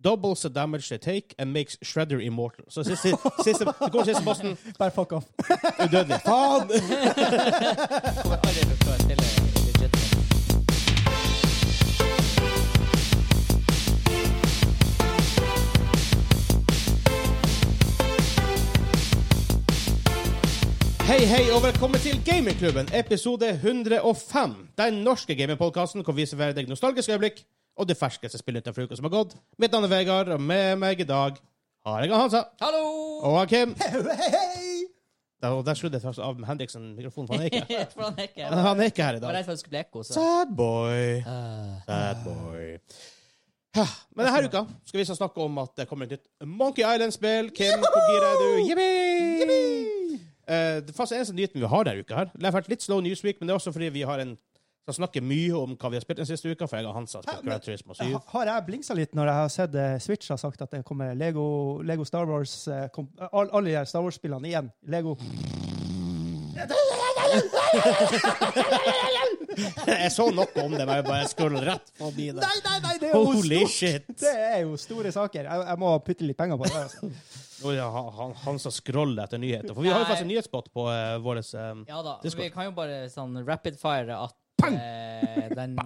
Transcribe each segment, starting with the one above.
doubles the damage they take and makes Shredder immortal. Så siste, siste, det går siste bossen Bare fuck off. udødelig. Faen! Kommer aldri til å klare å spille legit. Hei, hei, og velkommen til Gamingklubben, episode 105. Den norske gamingpodkasten hvor vi serverer deg nostalgiske øyeblikk og det ferskeste spillet utenfor uka som har gått. Mitt navn er Vegard, og med meg i dag har jeg Hansa Hallo! og han Kim. Hei, hei! Der, og der skrudde jeg faktisk av med Henriksen mikrofonen, for han er ikke For han er ikke her. Han er ikke her i Jeg var dag. redd for at det skulle bli ekko, så Sad boy. Ah, Sad boy. Ja, Men denne uka skal vi så snakke om at det kommer et nytt Monkey Island-spill. Kim, hvor gira er du? Yippee! Eh, det faktisk eneste nyheten vi har denne uka. her Det er faktisk litt slow news week, men det er også fordi vi har en skal snakke mye om hva vi har spilt den siste uka, for jeg og Hans har Hæ, spilt men- Grand Turismo 7. Ha- Har jeg blingsa litt når jeg har sett eh, Switch har sagt at det kommer Lego, Lego Star Wars eh, kom, all, Alle de her Star Wars-spillene igjen. Lego. Jeg så noe om det, men jeg bare scrollet rett forbi det. Nei, nei, nei! Det er jo, Holy stort. shit! Det er jo store saker. Jeg, jeg må putte litt penger på det. Altså. Nå er det han, han, han som scroller etter nyheter. For vi har jo Nei. faktisk en nyhetsspot på uh, vår ja da. Det skal- Vi kan jo bare sånn rapid-fire at Pang! eh, den,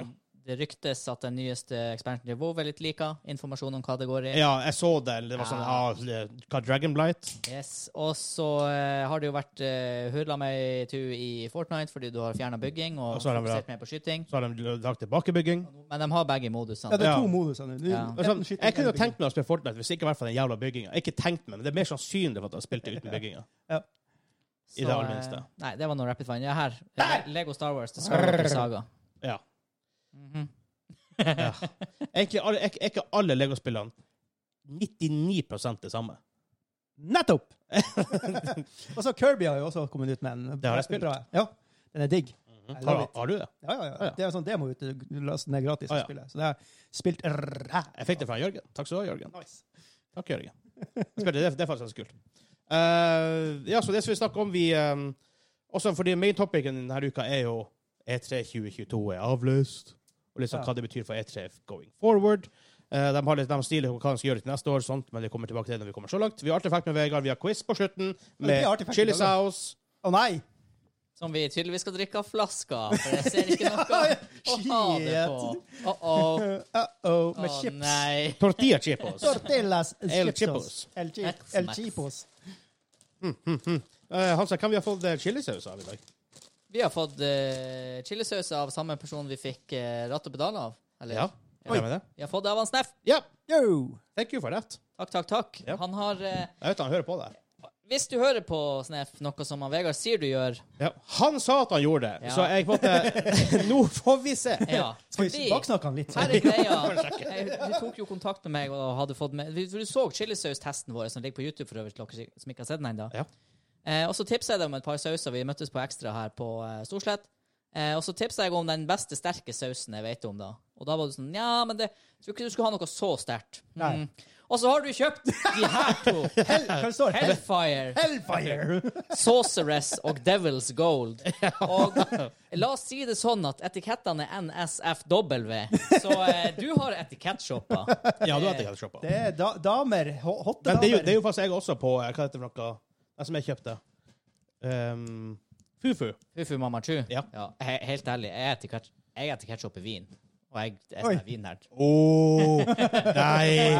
det ryktes at den nyeste eksperten til WoW er litt lika. Informasjon om hva det går i. Ja, jeg så den. Det var sånn Ja. ah, det- Hva Dragonblight? Yes. Og så eh, har det jo vært uh, hurla meg tu i Fortnite fordi du har fjerna bygging og Og så har de fokusert mer på skyting. Så har de lagd tilbakebygging. Men de har begge Ja, modusene. det er Ja. to moduser nå. Ja. Enten Men Sånn, skyting jeg kunne eller tenkt meg å spille Fortnite hvis ikke i hvert fall den jævla bygginga. Ikke tenkt meg, men det er mer sannsynlig for at jeg har spilt det uten bygginga. Så, i det aller eh, minste. Nei, det var noe rapid fire. Ja, her. Lego Star Wars, The Skywalker Saga. Ja. Mhm. ja. Egentlig alle, er ikke- er ikke alle Lego-spillene 99 det samme. bygging. Nettopp! og så Kirby har jo også kommet ut med en. Det har jeg spilt. Bra. Ja, den er digg. I love Har, it. har du det? Ja, ja, Ja, ja. ja. Det er jo sånn demo ute. Lasten er gratis Ah, å ja. spille. Så det har jeg spilt ræ. Jeg fikk det fra Jørgen. Takk skal du ha, Jørgen. Nice. Takk, Jørgen. Jeg spilte det, det er faktisk ganske kult. Eh, ja, så det skal vi snakke om. Vi, eh, også fordi main topicen denne uka er jo E E3 2022 er avlyst. Og liksom Ja. hva det betyr for E3 going forward. Eh, de har litt de stiler på hva de skal gjøre til neste år, sånt, men vi kommer tilbake til det når vi kommer så langt. Vi har artefakt med Vegard, vi har quiz på slutten med blir artefakt i chili dag, da. sauce. Å nei! Som vi tydeligvis skal drikke av flaska, for jeg ser ikke noe å ha det på. Uh-oh. Uh-oh, Å, med chips. nei. Tortilla chips. Tortillas El chipsos. chipos. El, chi That's El nice. chipos. Eh, Hansa, kan vi ha fått eh, chilisaus av i dag? Vi har fått uh, chilisaus av samme person vi fikk eh, ratt og pedal av. Eller? Ja. Er Oi. det med det? Vi har fått det av han Sneff. Ja. Yo! Thank you for that. Takk, takk, takk. Ja. Han har eh, Jeg vet han hører på det. Hvis du hører på Sneff, noe som han Vegard sier du gjør Ja. Han sa at han gjorde det, Ja. så jeg på en måte Nå får vi se! Ja. Skal fordi- vi baksnakke han litt? Her er greia. Jeg, du tok jo kontakt med meg og hadde fått med Du, du så chilisaustesten vår, som ligger på YouTube for øvrig, til dere som ikke har sett den ennå. Ja. Eh, og så tipsa jeg deg om et par sauser. Vi møttes på Ekstra her på eh, Storslett. Eh, og så tipsa jeg om den beste sterke sausen jeg vet om, da. Og da var du sånn Ja, men det tror ikke du skulle ha noe så sterkt. Mm. Nei. Og så har du kjøpt de her to. Hell, hva det står det? Hellfire, Hellfire! Sorceress og Devil's Gold. Og la oss si det sånn at etikettene er NSFW, så eh, du har etikettsjoppa. Ja, du hadde jeg hadde shoppa. Det er da damer. ho- Hotte Men damer. det er, jo, det er jo faktisk jeg også på eh, Hva heter det for noe? Den som jeg kjøpte. Ehm, Fufu. Fufu Mamma Chu? Ja. he helt ærlig, jeg er etikett- jeg er etikettsjopper vin. Og jeg, jeg er Oi. sånn vinnerd. Oh, nei!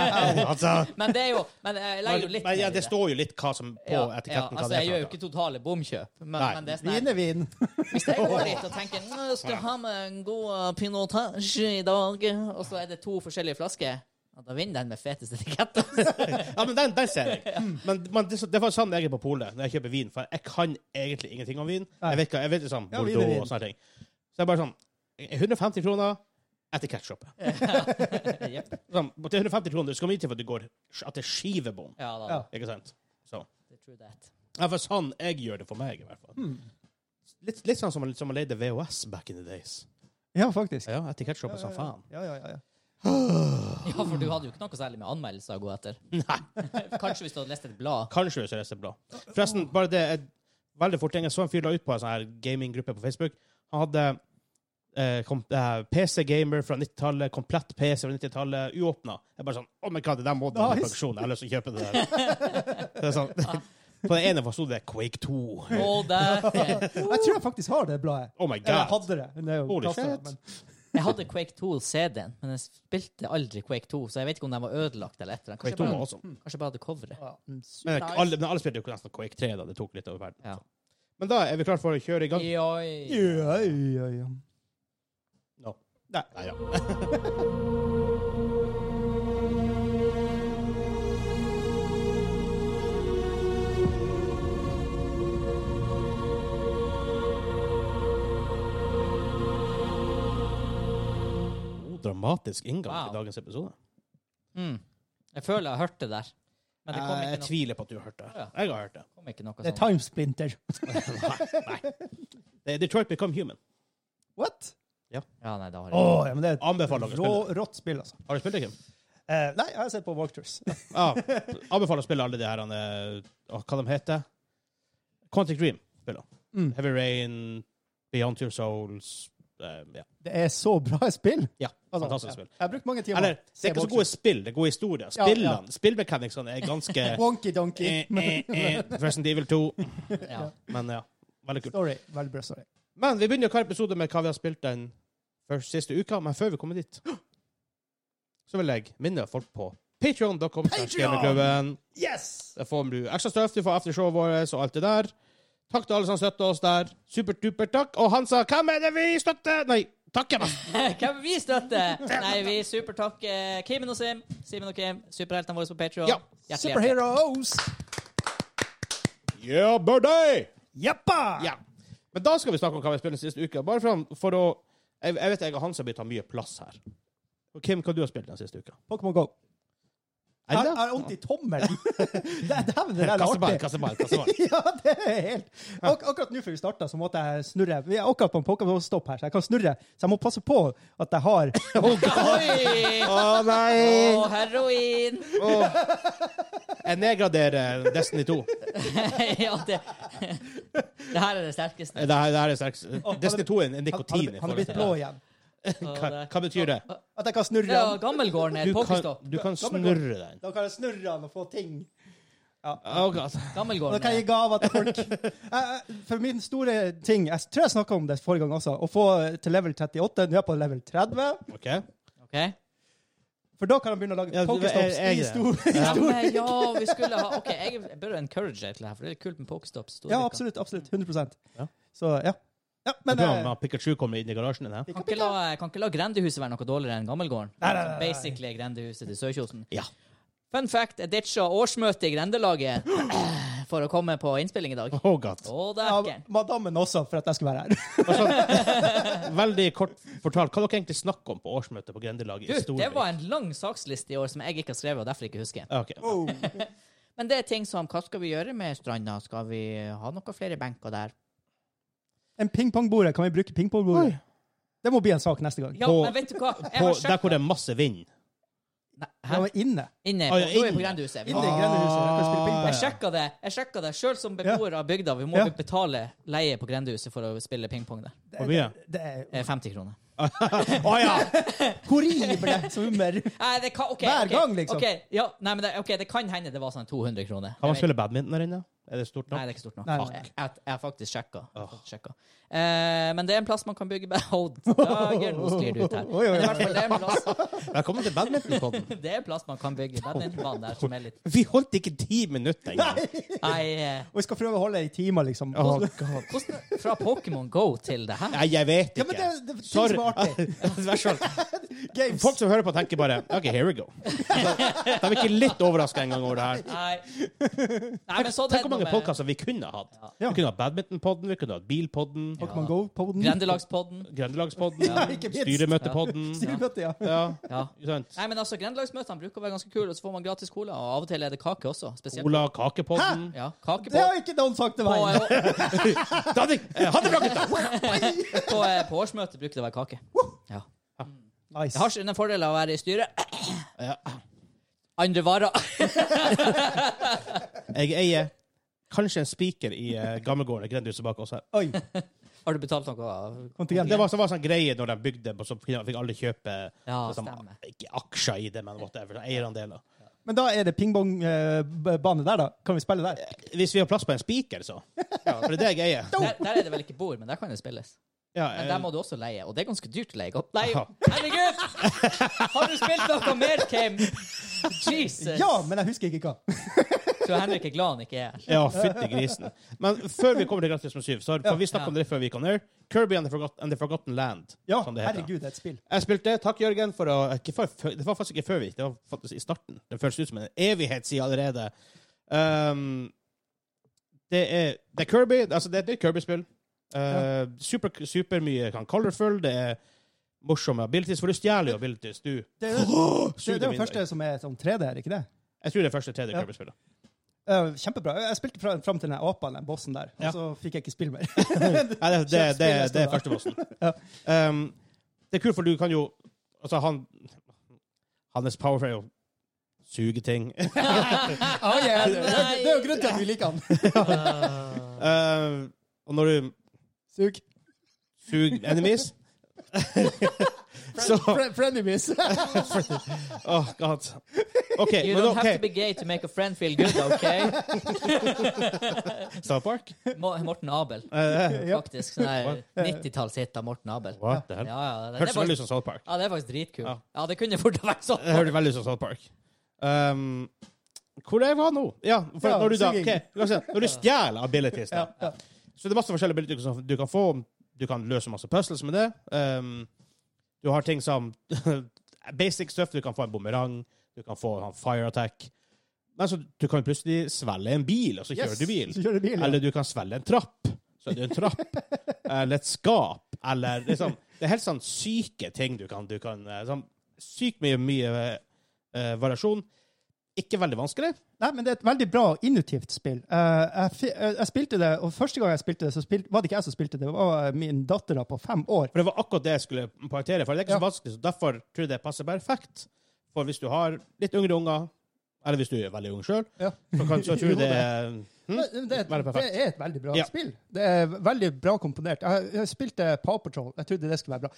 Altså Men det er jo Men eh, jeg legger jo litt men, ja, ned i Det står jo litt hva som på Ja, ja, etiketten. hva altså, det er for jeg gjør jo noe. ikke totale bomkjøp, men, Nei. men det er sånn her- Wienervin. Hvis jeg går dit og tenker Nå skal jeg ha med en god eh, pinotage i dag, og så er det to forskjellige flasker, ja, da vinner den med feteste etiketter. Ja, men den, den ser jeg. Men, men det, det var sånn jeg er på polet når jeg kjøper vin. For jeg kan egentlig ingenting om vin. Nei. Jeg vet, hva- jeg vet liksom Ja, vin er Bordeaux vin. og sånne ting. Så jeg bare sånn 150 kroner etter ketchup. Jep. Sånn, til 150 kroner det skal mye til for at det går At det er skivebom. Ja da. Ja. Ikke sant? Så. det tror jeg det. Ja, for sånn jeg gjør det for meg, i hvert fall. Litt, litt sånn som man, som man leide VHS back in the days. Ja, faktisk. Ja, etter ketchup og sånn faen. Ja, ja, ja, ja. Ja, for du hadde jo ikke noe særlig med anmeldelser å gå etter. Nei. Kanskje hvis du hadde lest et blad. Kanskje hvis jeg leser blad. Forresten, bare det er veldig fort ting. Jeg så en fyr la ut på en sånn her gaminggruppe på Facebook. Han hadde eh, kom- eh, PC Gamer fra 90-tallet, komplett PC fra 90-tallet, uåpna. Jeg er bare sånn Oh my god, det der må du ha i Nice. produksjon. Jeg har lyst til å kjøpe det der. det er sånn. På den ene sto det Quake 2. Og der, Jeg tror jeg faktisk har det bladet. Oh my Eller jeg god. hadde det. men det er jo Holy kastet, shit. men- jeg hadde Quake 2-CD-en, men jeg spilte aldri Quake 2, så jeg vet ikke om den var ødelagt eller etter. Quake Kanskje 2 jeg var bare, også. kanskje jeg bare hadde coveret. Ja, mm, Men nice. alle, men alle spilte jo nesten Quake 3, da. Det tok litt over verden. Ja. Men da er vi klare for å kjøre i gang. Oi. Ja, ja, ja. No. Nei. Nei, ja. Oh, Dramatisk inngang Wow. i dagens episode. Mm. Jeg føler jeg har hørt det der. Men det kom jeg jeg ikke, tviler på at du har hørt det. Ja. Jeg har hørt Eh, det. no kom ikke noe Det er sånt. Time Splinter. Det er Detroit Become Human. What? Ja, nei, det har Å, jeg ikke. ja, men det er et Anbefaler dere å spille det. rå- rått spill, altså. Har du spilt det, Kim? Eh, nei, jeg har sett på Walkthroughs. Ja. Anbefaler å spille alle de her eh, åh, Hva de heter Quantic Dream. Spiller. Mm. Heavy Rain, Beyond Your Souls eh, ja. Det er så bra spill. ja. Altså, Fantastisk ja. spill. Jeg har brukt mange timer. Eller, det Se er ikke så gode Walkthroughs. spill, det er gode historier. Ja, ja. Spillene, Spillmekanikkene er ganske Wonky donkey. eh, eh, eh, Resident Evil 2. Ja. Men ja, veldig kult. Story. Veldig bra story. Men vi begynner jo hver episode med hva vi har spilt den først siste uka. Men før vi kommer dit, så vil jeg minne folk på patreon.com. slash Patreon! Gamerklubben. Yes! Der får du ekstra støff, du får aftershowet vårt og alt det der. Takk til alle som støtter oss der. Superdupert takk. Og han sa 'Hvem er det vi støtter?' Nei, takker meg! Hvem vi støtter? Nei, vi supertakker Kimen og Sim. Simen og Kim. Superheltene våre på Patreon. Ja. Superheroes! Yeah, buddy! Jappa! Ja. Men da skal vi snakke om hva vi spilte sist uke. Bare for, for å jeg, jeg vet jeg og Hans har begynt å ha mye plass her. Og Kim, hva du har spilt den siste uka? Pokémon Go. Er Jeg det jeg har vondt i tommelen. det er dæven, det er Kaste ball, artig. kaste ball, kaste ball. ja, det er helt Ak Akkurat nå før vi starta, så måtte jeg snurre. Vi er akkurat på en Pokémon-stopp her, så jeg kan snurre. Så jeg må passe på at jeg har Oi! Å nei! Og heroin! Jeg nedgraderer Destiny 2. Det ja, det Det her er det sterkeste. her, det her er sterkt. Destiny 2 er en Han, nikotin. i han, han er forhold blitt til blå det. igjen. Hva, hva betyr det? At jeg kan snurre Ja, han. Gammelgården er Du et kan, pokestopp. du kan snurre den. Da kan jeg snurre han og få ting. Å, god. Da Gammelgården kan er jeg gi gaver til folk. Jeg- jeg- For min store ting Jeg tror jeg snakka om det forrige gang også. Å få til level 38. Nå er jeg på level 30. OK. Ja, eh, OK? Ja, For da kan han begynne å lage Ja, du- pokestops jeg- jeg- i stor men, ja, vi skulle ha OK, jeg jeg burde encourage deg til det her, for det er litt kult med pokestops. Ja, absolutt. absolutt, 100 Ja. Så ja. ja men, bra om eh, at Pikachu kommer inn i garasjen din. Her. Kan ikke, la, kan ikke la grendehuset være noe dårligere enn Gammelgården. Nei, nei, nei, nei. Basically er grendehuset til Sørkjosen. Ja. Fun fact, jeg ditcha årsmøtet i Grendelaget for å komme på innspilling i dag. Å, god. Å, ja, dæken. madammen også, for at jeg skulle være her. Altså, Veldig kort fortalt, hva dere egentlig snakker om på årsmøtet på Grendelaget i Du, det Storvik? var en lang saksliste i år som jeg ikke har skrevet, og derfor ikke husker. Ja, ok. Men det er ting som Hva skal vi gjøre med stranda? Skal vi ha noen flere benker der? En pingpongbordet. Kan vi bruke pingpongbordet? Oi. Det må bli en sak neste gang. Ja, På- men vet du hva? Jeg På, har der sjekket hvor det er masse vind. Nei, Den Hæ? var inne. Inne på, Å, ja, nå er vi inne. på grendehuset. Vi Inne må, i Ah. grendehuset. Jeg kan spille pingpong. jeg sjekka det. jeg sjekket det. Sjøl som beboer av bygda, vi må Ja. betale leie på grendehuset for å spille pingpong der. Hvor mye? Det er Eh, 50 kroner. Å ja! horrible summer. Nei, det kan, ok, Hver ok, gang, liksom. ok, ja, nei, men det, ok, det kan hende det var sånn 200 kroner. Kan man Jeg vet- spille badminton der inne? Er det stort Nei, nok? det er ikke stort nok. Nei, Fuck. nei, Jeg, jeg, jeg har faktisk sjekka. Jeg har faktisk sjekka. Eh, men det er en plass man kan bygge bad- Hold dagen, nå sklir det ut her. Oi, oi, oi. Men i hvert fall, det er en plass, Velkommen til badmintonpodden. det er en plass man kan bygge badmintonbane der som er litt Vi holdt ikke ti minutter engang. Nei, eh, Og vi skal prøve å holde det i timer, liksom. Å, Ja, God. hvordan, fra Pokémon Go til det her? Nei, jeg vet ikke. men det, det er ting Sorry. som er artig. Vær så snill. Games. Folk som hører på, tenker bare OK, here we go. De er ikke litt overraska engang over det her. Nei. nei men så Tenk hvor mange podkaster vi kunne hatt. Vi kunne hatt Badmintonpodden, vi kunne hatt Bilpodden, Pokémon Go-poden. Grendelagspodden. Grendelagspodden, Ja, ikke minst. Styremøtepodden. Styrbøtte, ja. Ja, Ja. ikke sant? Nei, men altså, Grenelagsmøtene bruker å være ganske kule, og så får man gratis cola. Og av og til er det kake også. Spesielt. Ola Kakepodden. Ja, kake Det på, har ikke noen sagt til på, meg. på, Da hadde- eh, Ha det bra, gutta! på, eh, på årsmøtet bruker det å være kake. Ja. Det Nice. har sine fordeler å være i styret. Ja. Andre varer. Jeg eier kanskje en spiker i eh, gammelgården. Grendehuset bak oss her. Oi. Har du betalt noe? Kontingent. Det var, så var sånn greie når de bygde, og så fikk alle kjøpe Ja, sånn, stemmer. Ikke aksjer i det, men whatever. Eierandeler. Men da er det pingpongbane der, da. Kan vi spille der? Hvis vi har plass på en spiker, så. For det er det jeg eier. Der, der er det vel ikke bord, men der kan det spilles. Ja, eh, Men Eh, der må du også leie, og det er ganske dyrt å leie. godt. Nei, Ja. herregud! Har du spilt noe mer, Kim? Jesus! Ja, men jeg husker ikke hva. Så Henrik er glad han ikke er her. Ja, fytti grisen. Men før vi kommer til Gratis med syv, så har for vi snakket om det før vi gikk on air. Kirby and the, Forgot and the Forgotten Land. Ja, som Sånn det heter. herregud, det er et spill. Jeg spilte. Takk, Jørgen, for å eh, ikke for, for- Det var faktisk ikke før vi gikk, det var faktisk i starten. Det føles ut som en evighet siden allerede. Um, det, er, det er Kirby. Altså, det er et nytt Kirby-spill. Uh, super, super mye kan colorful. Det er morsomme abilities, for du stjeler jo abilities, du. Det er det, Sug det, er dem det inn der. første som er sånn 3D, er det ikke det? Jeg tror det er første 3D Ja. Kirby-spillet. Eh, kjempebra. Jeg spilte fra, fram til den apen, den bossen der, og Ja. så fikk jeg ikke spille mer. Nei, det, det, Kjøp det, spillet, det er står førstebossen. um, det er kult, for du kan jo Altså, han Hans power er jo suge ting. Ah, yeah. det, er jo- det er jo grunnen til at vi liker han. Uh, og når du Sug. suger enemies Så Fre- Frenemies. Åh, god. OK, eh, You men don't Eh, have to OK. be gay to make a friend feel good, OK? South Park? Mo- Morten Abel, Uh, Ja. faktisk. Sånn her 90-tallshit av Morten Abel. what the Ja, hell? ja, det, det, Hørtes veldig er faktisk, ut som South Park. ja, det er faktisk dritkult. Ja. Ja, det kunne fort ha vært sånn. Det hørtes veldig ut som South Park. Um, hvor jeg var nå? Ja, for Ja, når du da suging. ok, du kan se, Når du stjeler abilities, da. Så det er masse forskjellige abilities som du kan få. Du kan løse masse puzzles med det. Um, du har ting som basic stuff. Du kan få en bumerang. Du kan få en fire attack. Men så du kan plutselig svelge en bil, og så kjører du bil. Så kjører du bil, ja. Eller du kan svelge en trapp. Så er det en trapp. Eller et skap. Eller liksom Det er helt sånn syke ting du kan, du kan eh, sånn, Sykt mye, mye eh, variasjon. Ikke veldig vanskelig. Nei, men det er et veldig bra og innovativt spill. Eh, jeg, fi- eh, jeg spilte det, og første gang jeg spilte det, så spilte, var det ikke jeg som spilte det, det var eh, min datter da på fem år. For det var akkurat det jeg skulle poengtere. For det er ikke så Ja. vanskelig, så derfor tror jeg det passer perfekt. For hvis du har litt yngre unger, eller hvis du er veldig ung sjøl, Ja. så kan så tror jeg det er hm? Det, Veldig det, er et- det perfekt. er et veldig bra Ja. spill. Det er veldig bra komponert. Jeg, jeg spilte Paw Patrol. Jeg trodde det skulle være bra.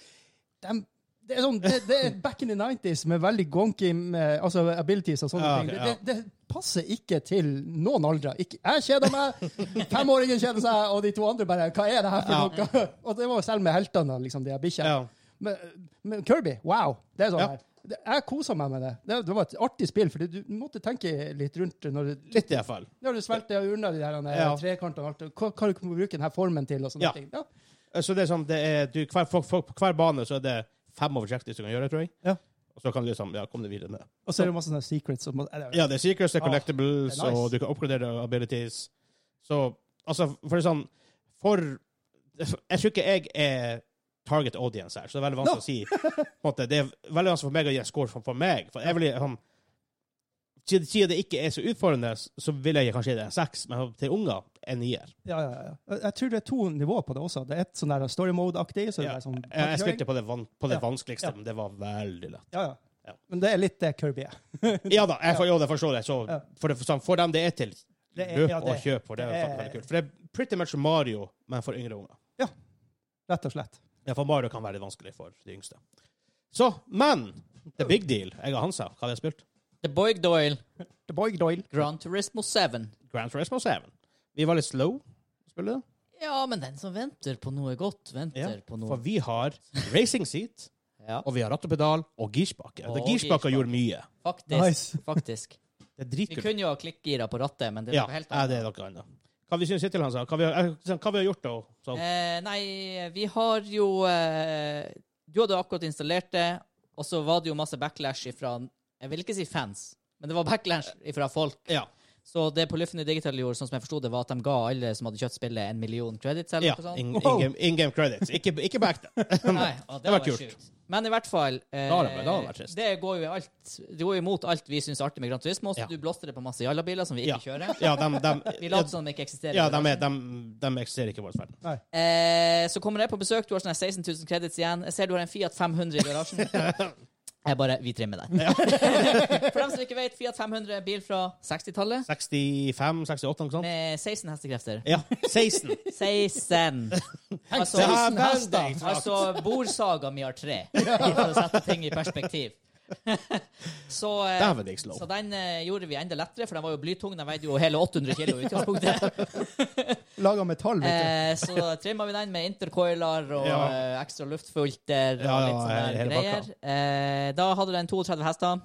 Dem- det er sånn, det, det er back in the 90s med veldig gonky med, altså abilities og sånne Ja, ting. ok, Det, det, det passer ikke til noen aldre. Ikke, jeg kjeder meg, femåringen kjeder seg, og de to andre bare Hva er det her for noe? Og det var selv med heltene, liksom, de her bikkjene. Ja. Men, men Kirby, wow! Det er sånn Ja. her. Det- Jeg kosa meg med det. det. Det var et artig spill, for du måtte tenke litt rundt når du Litt, iallfall. ja, du svelter unna de her Ja. ja. trekantene og alt. Hva, hva du kan bruke denne formen til og sånne Ja. ting. Ja. Så det er sånn, det er, du, hver, folk, folk, på hver bane så er det fem objectives du kan gjøre, tror jeg. Ja. Og så kan du liksom, ja, komme deg videre med det. Og så er det masse sånne secrets. som- eller- Ja, det er secrets, det er Ah, collectibles, det er nice. og du kan oppgradere abilities. Så altså, for det er sånn For Jeg tror ikke jeg er target audience her, så det er veldig vanskelig å si. På en måte, det er veldig vanskelig for meg å gi en score for, for meg. For jeg vil, sånn, siden- Siden det ikke er så utfordrende, så vil jeg kanskje gi det en seks, men til unger en nier. Ja, ja, ja. Jeg- Jeg tror det er to nivåer på det også. Det er et sånn der story mode-aktig. så det Ja. er sånn Jeg, jeg spilte på det, van, på det Ja. vanskeligste, Ja. men det var veldig lett. Ja, ja. Ja. Men det er litt det Kirby er. Ja da, jeg, for, jo, det forstår jeg. Så, Ja. for, det, for, sånn, for dem det er til, Det er- løp ja, og det- kjøp, for det, det er er- veldig kult. For det er pretty much Mario, men for yngre unger. Rett og slett. Ja, for Mario kan være litt vanskelig for de yngste. Så, men The big deal. Jeg og Hansa, hva har vi spilt? The Boyg Doyle, The Boy Doyle. Grand Turismo 7. Grand Turismo 7. Vi var litt slow å spille det. Ja, men den som venter på noe godt, Ja, venter på noe For vi har racing seat, Ja, og vi har ratt og pedal og girspake. Og Og girspake girspake. gjorde mye. faktisk. Nice. faktisk. Det er Vi dritkult. kunne jo ha klikkgira på rattet, men det er Ja, noe helt ja, annet. det er noe annet. Hva vi synes hittil, Hansa? Hva vi har, eh, sånn, hva vi har gjort da? Så, Eh, nei, vi har jo eh, Du hadde akkurat installert det, og så var det jo masse backlash ifra Jeg vil ikke si fans, men det var backlash ifra folk. ja. Så det Polyphony Digital gjorde, sånn som jeg forsto det, var at de ga alle som hadde kjøpt spillet, en million credits eller ja. noe sånt. In, game, credits. Ikke, ikke back Nei, og det, Det var var kult. sjukt. Men i hvert fall eh, Da hadde det- da hadde det vært trist. Det går jo i alt Det går jo imot alt vi syns er artig med Grand Turismo. Så Ja. du blåste det på masse jallabiler som vi Ja. ikke kjører. Ja, de, Vi de, later som de ikke eksisterer. ja, de, er- de, de eksisterer ikke i vår verden. Nei. Eh, så kommer jeg på besøk, du har sånn her 16 000 credits igjen. Jeg ser du har en Fiat 500 i garasjen. Jeg bare Vi trimmer den. For dem som ikke vet, Fiat 500 er en bil fra 60-tallet 65-68, ikke sant? med 16 hestekrefter. Ja. 16. 16! Altså, 16 hester. altså bordsaga mi har tre, for å sette ting i perspektiv. Så, eh, Dæven, det gikk slow. så den eh, gjorde vi enda lettere, for den var jo blytung. Den veide jo hele 800 kilo i utgangspunktet. Laga metall, vet Eh, så trimma vi den med intercoiler og Ja. eh, ekstra luftfilter og Ja, ja, litt sånne hele greier. Eh, da hadde den 32 hester.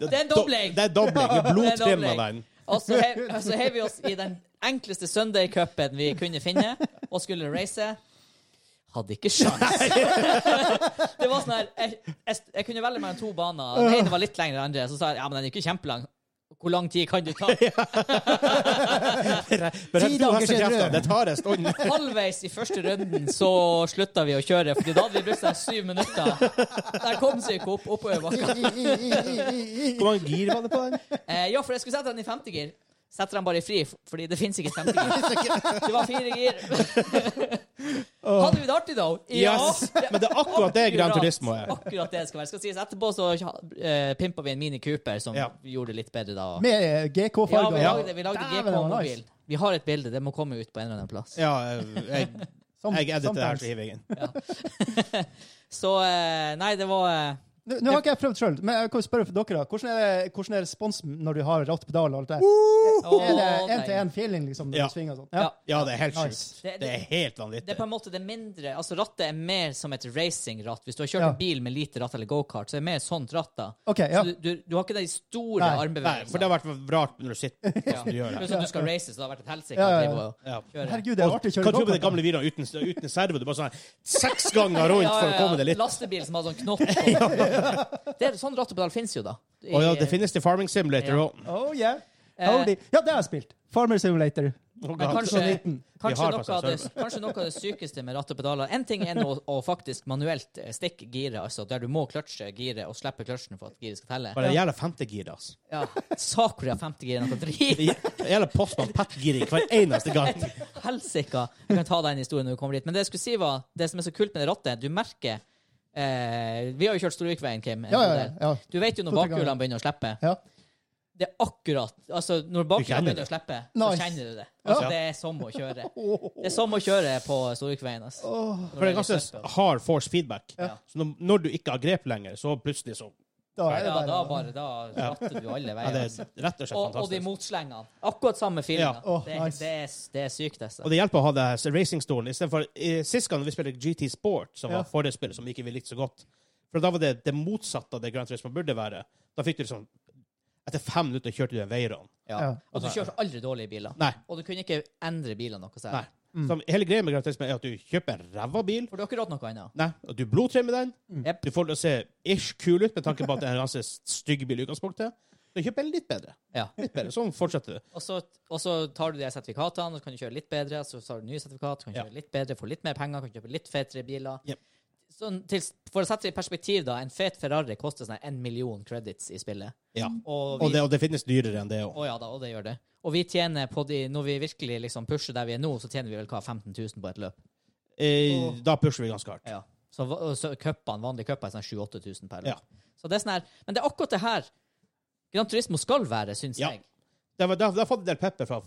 Det er en dobling. Det er dobling. Vi blodtrimma Det er en den. Og så hev, så hev vi oss i den enkleste Sunday-cupen vi kunne finne, og skulle race. Hadde ikke sjans. Det var sånn her jeg, jeg, jeg kunne velge mellom to baner. Den ene var litt lengre enn den andre. Så sa jeg ja, men den er ikke kjempelang. Hvor lang tid kan du ta? Men Ti du har dager siden hestekrefter. rød. Det tar en stund. Halvveis i første runden så slutta vi å kjøre, Fordi da hadde vi brukt sånn syv minutter. Der kom seg ikke opp oppover du. bakken. Hvor mange gir var det på den? Eh, ja, for jeg skulle sette den i femtegir. Setter den bare i fri, f- fordi det fins ikke et femtegir. Det var fire gir. Hadde vi det artig, da? Yes. Men det er akkurat det Gran Turismo er. Akkurat det det skal være. Skal sies etterpå så eh, pimpa vi en Mini Cooper som Ja. gjorde det litt bedre da. Med eh, Ja, GK-farger. vi lagde, vi lagde Dæven, GK det var nice. mobil. Vi har et bilde, det må komme ut på en eller annen plass. Ja, jeg, Som- jeg editer det her, sometimes. så hiver jeg inn. Så eh, Nei, det var eh, Nå, nå har ikke jeg prøvd sjøl, men jeg kan jo spørre for dere. da. Hvordan er, det, hvordan er responsen når du har ratt pedal og alt det Eh, der? å, Er det nei. én-til-én-feeling liksom, når Ja. du svinger og sånn? Ja. Ja, det er helt Nice. sjukt. Det- det- Det er helt Det vanvittig. er på en måte det mindre Altså rattet er mer som et racingratt. Hvis du har kjørt Ja. en bil med lite ratt eller gokart, så er det mer sånt ratt. da OK, Så ja. du, du, du har ikke de store Nei. Nei, for det armbevegelsene. har vært rart når du sitter Ja. som du gjør Pluss det. at du skal race, så det har vært et helsike. Ja, å ja, ja. drive og Ja. kjøre. Herregud, det er artig å Kan kjøre du tro på de gokart. gamle videoene uten, uten servo? Du bare sånn her, seks ganger rundt for å komme deg litt. Lastebil som har sånn knott på. det er, sånn ratt og pedal fins jo, da. I- eh, Å ja, det finnes det Farming Simulator Ja. òg. da. Oh, yeah. Eh, Howdy. Ja, det har jeg spilt. Farmer Simulator. men kanskje, Sånn Så liten. Vi kanskje, har noe faktisk av det, kanskje noe av det sykeste med ratt og pedaler En ting er nå å- å faktisk manuelt eh, stikke giret, altså der du må kløtsje giret og slippe kløtsjen for at giret skal telle. Bare en jævla femtegir, altså. Ja. Sakura 50G er noe dritt. En Jævla postmann Pat-giring hver eneste gang. Helsika! Jeg kan ta den historien når vi kommer dit. Men det jeg skulle si var, det som er så kult med det rattet, du merker eh, Vi har jo kjørt Storvikveien, Kim. en Ja, ja, god ja. del. ja. Du vet jo når To-tre ganger. bakhjulene begynner å slippe. Ja. Det er akkurat Altså, når kjenner bakhjulene det. begynner å slippe, Nice. så kjenner du det. Altså, Ja. Det er som å kjøre. Det er som å kjøre på Storvikveien. Altså. Åh, For det er ganske hard force feedback. Ja. Så når- når du ikke har grep lenger, så plutselig så da er det Ja, da bare bare Da ratter du alle ja, veier. Det altså. er rett og slett Og, og de fantastisk. motslengene. Akkurat samme feelinga. Ja. Åh, det, nice. det, er- det er sykt, altså. Og det hjelper å ha det her racingstolen istedenfor eh, Sist gang vi spilte GT Sport, som Ja. var forrige spill, som ikke vi likte så godt For da var det det motsatte av det Grand Turismo burde være. Da fikk du liksom Etter fem minutter kjørte du en veiran. Ja. Ja. Og du kjørte aldri dårlige biler. Nei. Og du kunne ikke endre bilene noe særlig. Nei. Mm. Så hele greia med Grand Turismo er at du kjøper en ræva bil, For du har ikke råd noe annet. Nei, og du blodtrimmer den. Mm. Jep. Du får det å se ish kul ut, med tanke på at det er en ganske stygg bil i utgangspunktet. Så kjøp en litt bedre. Ja. Litt bedre. Sånn fortsetter det. Og så, og så tar du de sertifikatene, og så kan du kjøre litt bedre. Så tar du nye sertifikat, kan Ja. kjøre litt bedre, får litt mer penger, kan kjøpe litt fetere biler. Jep. Sånn, til, for å sette det i perspektiv, da. En fet Ferrari koster sånn en million credits i spillet. Ja. Og, Mm. Og vi, det, og det finnes dyrere enn det òg. å ja da, og det gjør det. Og vi tjener på de Når vi virkelig liksom pusher der vi er nå, så tjener vi vel hva, 15 000 på et løp. Eh, da pusher vi ganske hardt. Ja. Så, va- og så cupene, vanlige cuper er sånn 7000-8000 per løp. Ja. Så det er sånn her, men det er akkurat det her Gran Turismo skal være, syns Ja. jeg. Det var- Da da har fått en del pepper fra,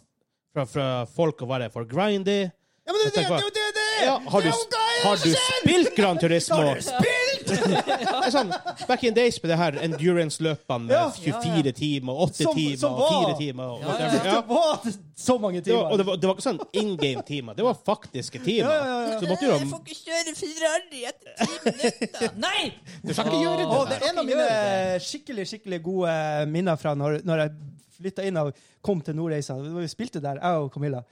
fra, fra folk å være for grindy. Ja, men det er Jeg tenker jo det! det, er Ja, det. har, du, Det er jo geil, har du skjønner spilt Gran Turismo? Har du spilt?! Det er sånn, back in days med det her endurance-løpene med Ja. 24 timer, 8 Som- timer, som og var- 4 timer og Ja, ja, whatever. Det var så mange Det var, og timer. det var, det var ikke sånn in game-timer. Det var faktiske timer. Ja, ja, ja. Så du måtte jo ha ikke kjøre Ferrari etter ti minutter! Nei! Du skal ikke gjøre det. Og det er en av mine Gjør skikkelig skikkelig gode minner fra når, når jeg flytta inn og kom til Nordreisa. Vi spilte der, jeg og Camilla.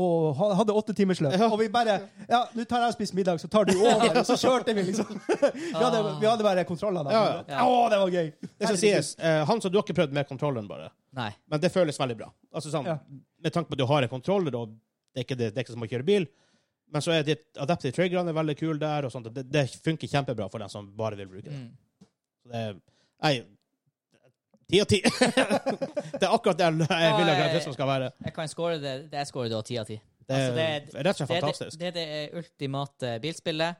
Og ha- hadde åtte timers løp. Og vi bare Ja, nå tar jeg og spiser middag, så tar du over. Og så kjørte vi, liksom. Vi hadde, vi hadde bare kontroller da. Ja, ja. Å, det var gøy! Det skal sies, eh, Hans, og du har ikke prøvd med kontrolleren, bare. Nei. Men det føles veldig bra. Altså sånn, Ja. Med tanke på at du har en kontroller, og det er ikke, det, det er ikke som å kjøre bil. Men så er de adaptive triggerne veldig kule der, og sånt. og Det, det funker kjempebra for den som bare vil bruke det. Mm. Så det er, nei, ti av ti. det er akkurat det jeg vil at det skal være. Jeg kan score det. det jeg scorer da ti av ti. Det er Altså, det er- rett og slett Det er det, fantastisk. det, er det ultimate bilspillet.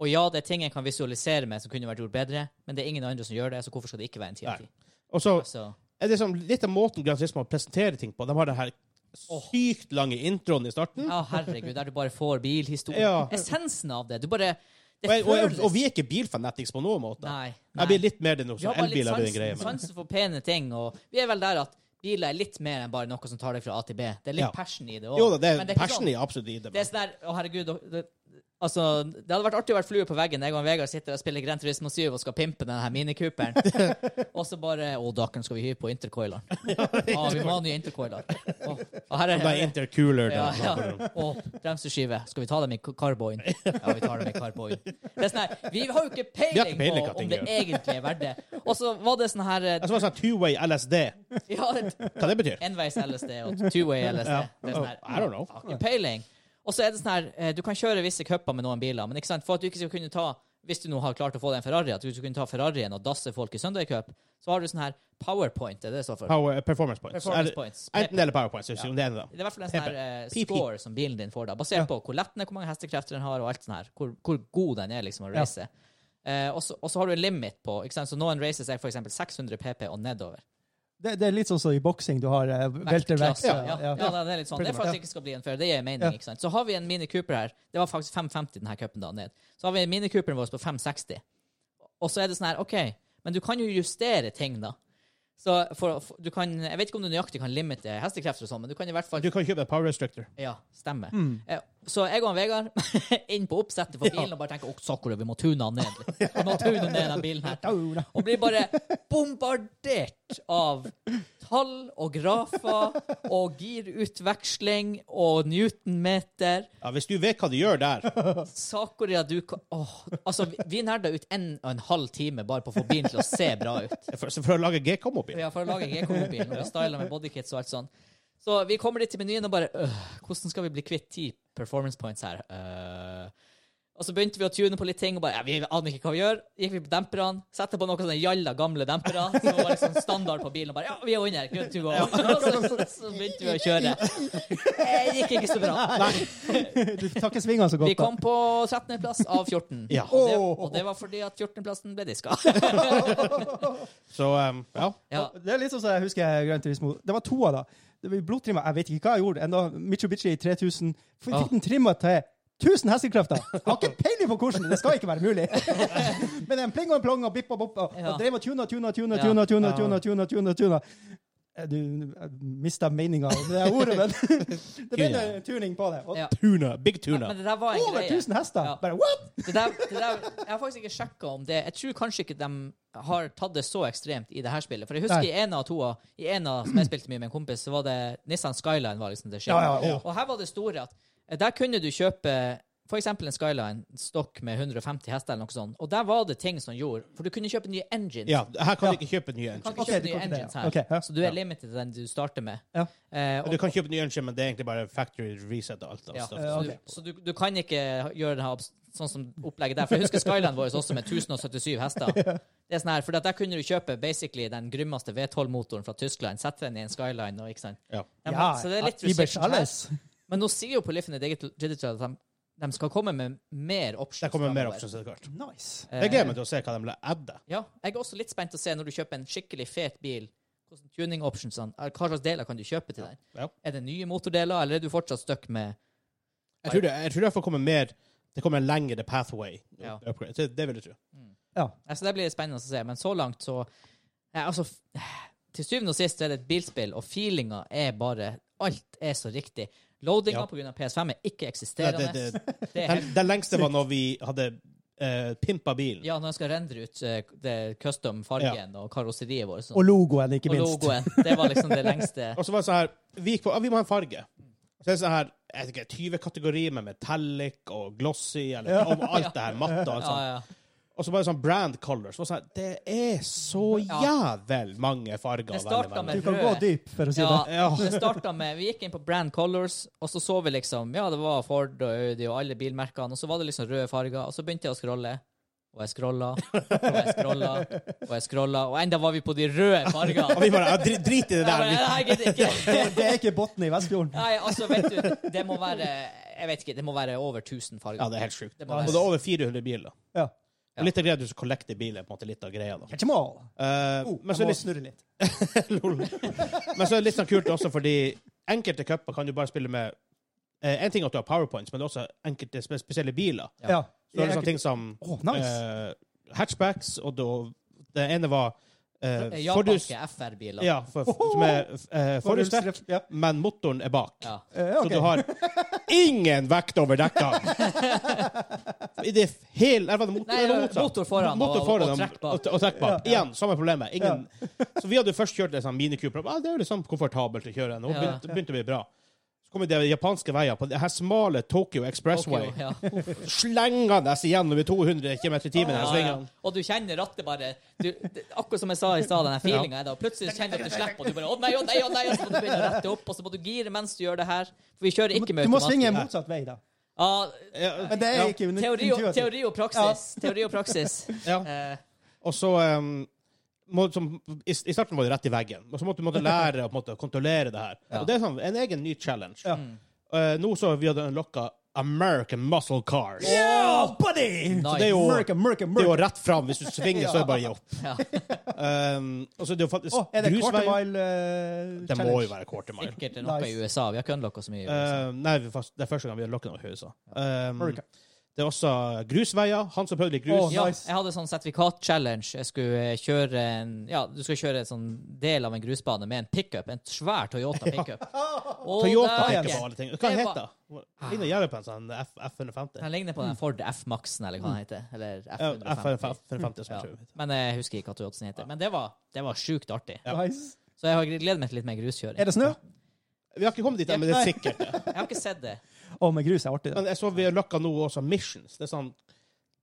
Og ja, det er ting jeg kan visualisere med som kunne vært gjort bedre, men det er ingen andre som gjør det, så hvorfor skal det ikke være en 10 av 10? Og så Altså, er det sånn, litt av måten Gran Turismo presenterer ting på. De har den her sykt lange introen i starten. ja, herregud, der du bare får bilhistorie. Ja. Essensen av det. Du bare Det Og, jeg, og, jeg, føles og vi er ikke bilfanatics på noen måte. Nei. Jeg blir litt mer den Vi har som bare litt elbil av den greia. sansen, sansen for pene ting, og vi er vel der at biler er litt mer enn bare noe som tar deg fra A til B. Det er litt Ja. passion i det Jo da, òg. det er passion i absolutt i det. Det er sånn der, å herregud, og- det, altså, det hadde vært artig å være flue på veggen. Jeg og Vegard sitter og spiller Grand Turismo 7 og skal pimpe denne her minikuperen. og så bare Å, dakken skal vi hyre på intercoileren. Ja, vi må ha nye intercoiler. Og, og her er, men Det er intercooler. ja, da. ja. Og bremseskive. Skal vi ta dem i k- karboin? Ja, vi tar dem i karboin. Det er sånn her, vi har jo ikke Vi har ikke peiling peiling hva på ting om det gjør. egentlig er verdt det. Og så var det sånn her eh, Jeg tror det er sånn two-way LSD. ja, et- Hva det betyr? Enveis LSD og two-way LSD. Det er sånn her, I don't know. har ikke peiling. Og så er det sånn her, eh, du kan kjøre visse cuper med noen biler, men ikke sant, for at du ikke skal kunne ta hvis du nå har klart å få deg en Ferrari, at du skal kunne ta Ferrarien og dasse folk i søndagcup, så har du sånn her powerpoint, er det det står for? Power, eh, performance points. Performance Er- points. Enten det eller power points. hvis Om det er en av dem. Det er i hvert fall en sånn her eh, PP. score som bilen din får, da, basert på hvor lett den er, hvor mange hestekrefter den har, og alt sånn her. Hvor, hvor god den er liksom å Ja. race. Eh, og så og så har du en limit på ikke sant? Så noen races er for eksempel 600 PP og nedover. Det, det er litt sånn som i boksing. Du har eh, Vektklasse, weltervekt. Ja, ja. det er litt sånn. Det er for at det ikke skal bli en fair. Det gir mening, Ja. ikke sant. Så har vi en Mini Cooper her. Det var faktisk 550 denne cupen da ned. Så har vi Mini Cooperen vår på 560. Og så er det sånn her, OK, men du kan jo justere ting, da. Så for, for, du kan Jeg vet ikke om du nøyaktig kan limite hestekrefter og sånn, men du kan i hvert fall Du kan kjøpe en power restrictor. Ja, stemmer. Eh, Så jeg og han Vegard inn på oppsettet for bilen og bare tenker Å, sakkore, vi må tune han ned. Vi må tune ned den bilen her. Og blir bare bombardert av tall og grafer og girutveksling og newtonmeter. Ja, hvis du vet hva du gjør der Sakoria, du kan Åh. Altså, vi- vi nerda ut en og en halv time bare på å få bilen til å se bra ut. For, for å lage G-kom-mobil Ja, for å lage GK-mobilen. Og vi styler med bodykits og alt sånn. Så vi kommer dit til menyen og bare øh, Hvordan skal vi bli kvitt ti performance points her? Øh. Og så begynte vi å tune på litt ting, og bare ja, vi aner ikke hva vi gjør. Gikk vi på demperne, satte på noen sånne jalla gamle dempere som var liksom standard på bilen, og bare ja, vi er under, good to go. Og så, så begynte vi å kjøre. Det gikk ikke så bra. Du tar ikke svingene så Vi godt. da. kom på 13.-plass av 14. Ja. Og, det, og det var fordi at 14.-plassen ble diska. Så um, ja. Ja. Det er litt sånn som jeg husker Gran Turismo. Det var to av da. Det var blodtrimma. Jeg vet ikke hva jeg gjorde. Enda Mitsubishi 3000. F- Ah. Fikk den trimma til 1000 hestekrefter. Jeg har ikke peiling på hvordan. Det skal ikke være mulig. Men en pling og en plong og bipp og bopp og, Ja. og drev og tuna, tuna, tuna, Ja. tuna, tuna, Ja. tuna, tuna, tuna, tuna. Eh, Du mista meninga av det ordet, men det ble Tuna. en tuning på det. Og Ja. Tuna. Big tuna. Men det der var en over greie. 1000 hester! Ja. Bare what?! Det der, det der, jeg har faktisk ikke sjekka om det Jeg tror kanskje ikke de har tatt det så ekstremt i det her spillet. For jeg husker Nei. i en av toa, i en av som jeg spilte mye med en kompis, så var det Nissan Skyline var liksom det skjedde. Ja, ja, ja. Og her var det store at eh, der kunne du kjøpe for eksempel en Skyline stokk med 150 hester eller noe sånt, og der var det ting som gjorde For du kunne kjøpe nye engines. Ja, her kan du ikke kjøpe nye Du kan engine. ikke Ok, kjøpe du nye kan ikke det, engines ja. her, Ok, ja. så du er Ja. limited til den du starter med. Ja. Eh, og, Du kan kjøpe nye engine, men det er egentlig bare factory reset og alt. av Ja, stuff. Ja, så du, ok. så du, du kan ikke gjøre det her abs- sånn som opplegget der. For jeg husker Skyland vår også med 1077 hester. Det er sånn her, for at Der kunne du kjøpe basically den grymmeste V12-motoren fra Tyskland, sette den i en Skyline og ikke sant. Ja. De, Ja, så det er litt ja, Ibers restriction her. alles. Men nå sier jo Polyphony Digital, Digital at de, de skal komme med mer options. Der kommer mer fremover. options etter hvert. Nice. Eh, Jeg gleder meg til å se hva de vil adde. Ja, jeg er også litt spent å se når du kjøper en skikkelig fet bil, hvordan tuning optionsene, er, hva slags deler kan du kjøpe til den? Ja. Er det nye motordeler, eller er du fortsatt stuck med Jeg tror det, jeg tror det får komme mer Det kommer en lengre pathway. Ja. Upgrade. Det, det vil jeg tro. Ja. Altså, det blir spennende å se, men så langt så Nei, altså, f- Til syvende og sist så er det et bilspill, og feelinga er bare Alt er så riktig. Loadinga Ja. på pga. PS5 er ikke Det, eksisterende. det, det, Det er det, helt- det lengste var når vi hadde uh, pimpa bilen. ja, når jeg skal rendre ut eh, det custom fargen og karosseriet vårt sånn. Og logoen, ikke og minst. logoen. Det var liksom det lengste. Og så var det sånn her Vi gikk på ah, Vi må ha en farge. Så er det sånn her jeg vet ikke, 20 kategorier med metallic og glossy eller om alt det her, matte og alt Ja, sånt. ja. Og så bare sånn brand colors. Og sånn, det er så Ja. jævel mange farger. å Det velge startet mellom. Du kan gå dyp, for å si det. Ja, det startet med Vi gikk inn på Brand Colors, og så så vi liksom Ja, det var Ford og Audi og alle bilmerkene, og så var det liksom røde farger, og så begynte jeg å scrolle. Og jeg scrolla, og jeg scrolla, og jeg scrolla, og enda var vi på de røde Og fargene. vi bare ja, dri, Drit i det Jeg der. bare, Nei, jeg gidder ikke. Det er ikke bunnen i Vestfjorden. Nei, altså, vet du, det må være jeg vet ikke, det må være over 1000 farger. Ja, det er helt sjukt. Det må Og være- det er over 400 biler. Ja. Og litt av greia du skal kollekte biler, på en måte litt av greia. da. Catch 'em all. Eh, Oh, men, så er jeg må det snurre litt. litt, lol. men så er det litt sånn kult også, fordi enkelte cuper kan du bare spille med eh, En ting er at du har powerpoints, men det er også enkelte spe spesielle biler. Ja. Ja. Så er det sånne ting som Å, nice. eh, hatchbacks, og da, det ene var eh, forhus- Japanske FR-biler. Ja, for, som er eh, forhjulstrekk, Ja. men motoren er bak. Ja. Eh, ok. Så du har ingen vekt over dekka. I det hele Eller var det motor? Nei, eller var det motsatt? motor foran og- motor foran og trekk bak. og- Og, trekk bak. Igjen, samme problemet. Ingen, Så vi hadde først kjørt en sånn minikuper. Ah, det er jo liksom komfortabelt å kjøre den. Og Ja. begynte, begynte å bli bra. Så kommer det japanske veier på det her smale Tokyo Expressway. Tokyo, ja. Slengende gjennom i 200 km i timen. Ja, her ja. svingene. Og du kjenner rattet bare du, det, Akkurat som jeg sa i stad, den feelinga er da. Plutselig kjenner du at du slipper, og du bare Å nei, å nei, å nei! Og så må du begynne å rette opp, og så må du gire mens du gjør det her. For vi kjører ikke med Du må svinge automatgir. motsatt vei, da. Ja, Ja, Men det er ikke uni- Teori og, intuitivt. teori og praksis. Teori og praksis. ja. Eh, Og så um, må, som, i, I starten var det rett i veggen, og så måtte du måtte lære å på en måte, kontrollere det her. Ja. Og det er sånn, en egen ny challenge. Ja. Eh, nå så har vi hadde unlocka American Muscle Cars. Yeah, buddy! Så det er jo, Mørke, mørke, det er jo mørke. rett fram. Hvis du svinger, så er det bare å gi opp. Ja. Um, og så er det jo faktisk Å, er det quarter grusvei. mile eh, Det må challenge? jo være quarter mile. Sikkert noe Nice. i USA. Vi har ikke unlocka så mye. i USA. Eh, nei, vi fast, det er første gang vi har lokket noe i huset. Um, Mørke. det er også grusveier. Han som prøvde litt grus. Å, ja, nice. jeg hadde sånn sertifikat-challenge. Jeg skulle eh, kjøre en Ja, du skal kjøre en sånn del av en grusbane med en pickup. En svær Toyota pickup. Og Toyota der- heter på alle ting. Hva Det var- heter det? Ligner jævlig på en sånn F- F150. Den ligner på den Ford F-Maxen, eller hva den heter. Eller Ja, F150. F150, som Ja. jeg tror. Men jeg husker ikke hva Toyotaen heter. Men det var, det var sjukt artig. Nice. Så jeg har gleder meg til litt mer gruskjøring. Er det snø? Vi har ikke kommet dit, ennå, men det er sikkert det. Jeg har ikke sett det. Å, men grus er artig. Da. Men jeg så vi har lokka nå også missions. Det er sånn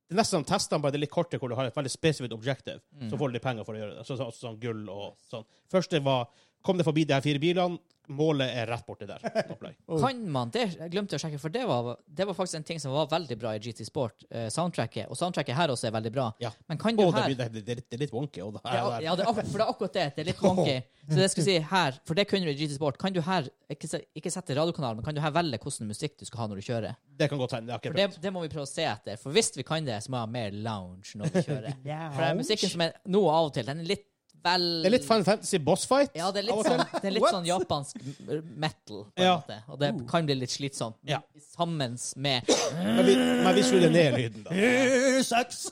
det er nesten sånn testene, bare det er litt kortere, hvor du har et veldig spesifikt objective. Mm. Så får du litt penger for å gjøre det. Så, så, så, sånn gull og sånn. Første var Kom deg forbi de her fire bilene. Målet er rett borti der. Opplegg. Kan man det? Jeg glemte å sjekke, for det var, det var faktisk en ting som var veldig bra i GT Sport. eh, soundtracket. Og soundtracket her også er veldig bra. Ja. Men kan du Og det, her blir- det, det, er litt- det er litt wonky. Og det her, Ja, og der. ja det er, akkur- for det er akkurat det. Det er litt wonky. Så det skulle jeg si her, for det kunne du i GT Sport. Kan du her, ikke, se- ikke sette radiokanal, men kan du her velge hvordan musikk du skal ha når du kjører? Det kan godt hende. Jeg har ikke For det, prøvd. det må vi prøve å se etter. For hvis vi kan det, så må jeg ha mer lounge når vi kjører. For det er musikken som er nå av og til, den er litt vel Det er litt Final Fantasy boss fight. Ja, det er litt av og til. sånn, det er litt What? sånn japansk m- metal, på en Ja. Mm. måte. Og det kan bli litt slitsomt. Ja. Sammen med Men vi, men vi skulle ned lyden, da. Eh, Sex!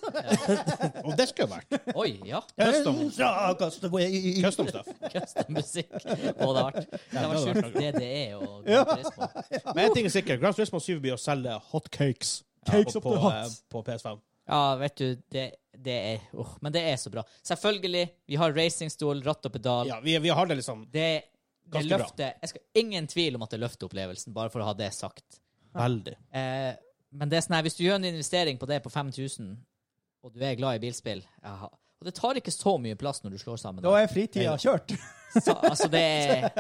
Og det skulle vært Oi, ja. custom, Ja, castaway. custom stuff. Custom musikk. Å, det har vært Det var det hadde vært sjukt DDE og Gran Turismo. Men én ting er sikkert. Grand Turismo 7 blir å selge hotcakes Cakes på, up på, the eh, hot. på PS5. Ja, vet du, det, det er åh, Men det er så bra. Selvfølgelig, vi har racingstol, ratt og pedal. Ja, vi, vi har det liksom Det, det Ganske bra. løfter Jeg skal ingen tvil om at det løfter opplevelsen, bare for å ha det sagt. veldig. Eh, men det er sånn her, hvis du gjør en investering på det på 5000, og du er glad i bilspill jaha. Og det tar ikke så mye plass når du slår sammen. Da er fritida kjørt. Så, altså, det er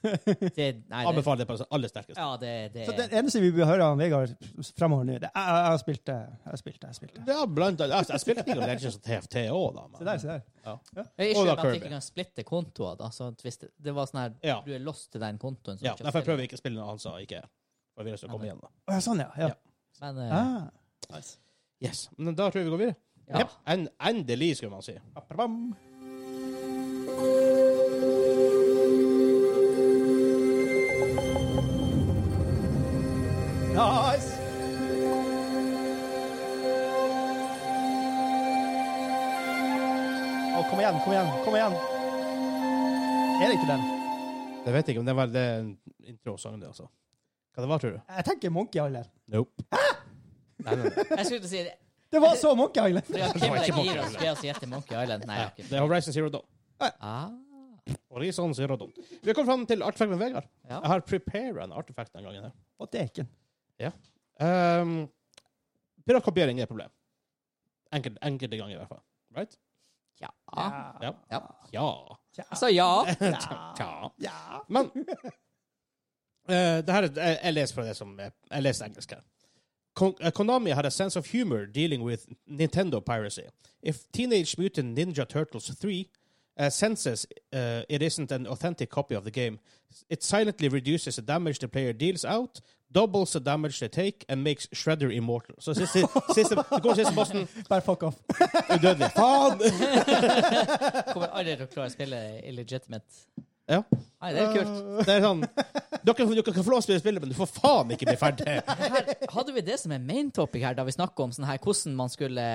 det, Nei, det, Anbefaler det på det aller sterkeste. ja, det, det Så det eneste vi bør høre av Vegard fremover nå, det er jeg har spilt det, jeg har spilt det, jeg har spilt det. Ja, blant annet. Altså, jeg spilte ikke Legends of TFT òg, da. Se der, Men. se der. Jeg Og da skjønner at jeg Kirby. ikke kan splitte kontoer. Da, så at hvis det, det var sånn her, Ja. Du er lost til den kontoen. som Ja, du derfor kjøpte. prøver jeg ikke å spille noe annet som ikke for jeg vil også komme igjen, da. Å ja, sånn, ja. ja. Men, eh, Ah. Nice. Yes. Men da tror jeg vi går videre. Ja. Jep. En, endelig, skulle man si. Ba-ba-bam. Nice! Å, kom igjen, kom igjen, kom igjen. Er det ikke den? Det vet jeg ikke om det var det er en introsang, det, altså. Hva det var, tror du? Jeg tenker Monkey Island. Nope. Nei, nei, nei. Jeg skulle til å si det. Det var så Monkey Island! Fordi at Kim var ikke Monkey legger gir oss Island. ved å si etter Monkey Island. Nei, jeg har ikke. Det er Horizon Zero Dawn. Ah, Horizon Zero Dawn. Vi har kommet fram til artefakt med Vegard. ja. Jeg har preparet en artefakt den gangen. her. Og det er ikke den. Um, Piratkopiering er et problem. Enkelt, enkelte ganger, i hvert fall. Right? ja. Ja. Ja. Ja. Ja. Jeg sa ja. Ja. ja. Ja. Men eh, det her, er- jeg, jeg leser fra det som eh, Jeg leser engelsk her. Kon eh, Konami had a sense of humor dealing with Nintendo piracy. If Teenage Mutant Ninja Turtles 3 uh, senses eh, uh, it isn't an authentic copy of the game, it silently reduces the damage the player deals out doubles the damage they take, and makes Shredder immortal. Så siste, siste, det går siste bossen Bare fuck off. udødelig. Faen! Kommer aldri til å klare å spille illegitimate. Ja. Nei, det er kult. Det er sånn Dere, dere kan få lov å spille spillet, men du får faen ikke bli ferdig. Her, hadde vi det som en main topic her, da vi snakka om sånn her, hvordan man skulle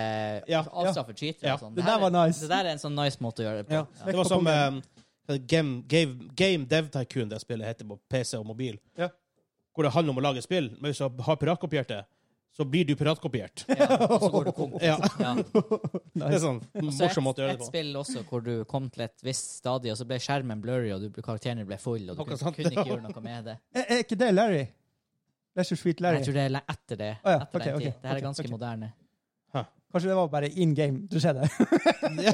Ja, avstraffe cheatere Ja. og sånn? Det her der var er- nice. Det der er en sånn nice måte å gjøre det på. Ja. Ja. Det var som eh, game, game, game Dev Tycoon, det spillet heter på PC og mobil, Ja. hvor det handler om å lage spill. Men hvis du har piratkopiert det, så blir du piratkopiert. Ja, og så går du konk. Ja, Ja. Det er sånn Så et, morsom måte å gjøre et det på. spill også hvor du kom til et visst stadie, og så ble skjermen blurry, og du, ble- karakterene ble full, og du Akkurat kunne, sant, kunne ikke ja. gjøre noe med det. Er, er ikke det Larry? Leisure Sweet Nei, Larry? Jeg tror det er le- etter det. Å ja, Etter ok, den ok, tid. Det her ok, er ganske ok. moderne. Kanskje det var bare in game du skjedde? Ja,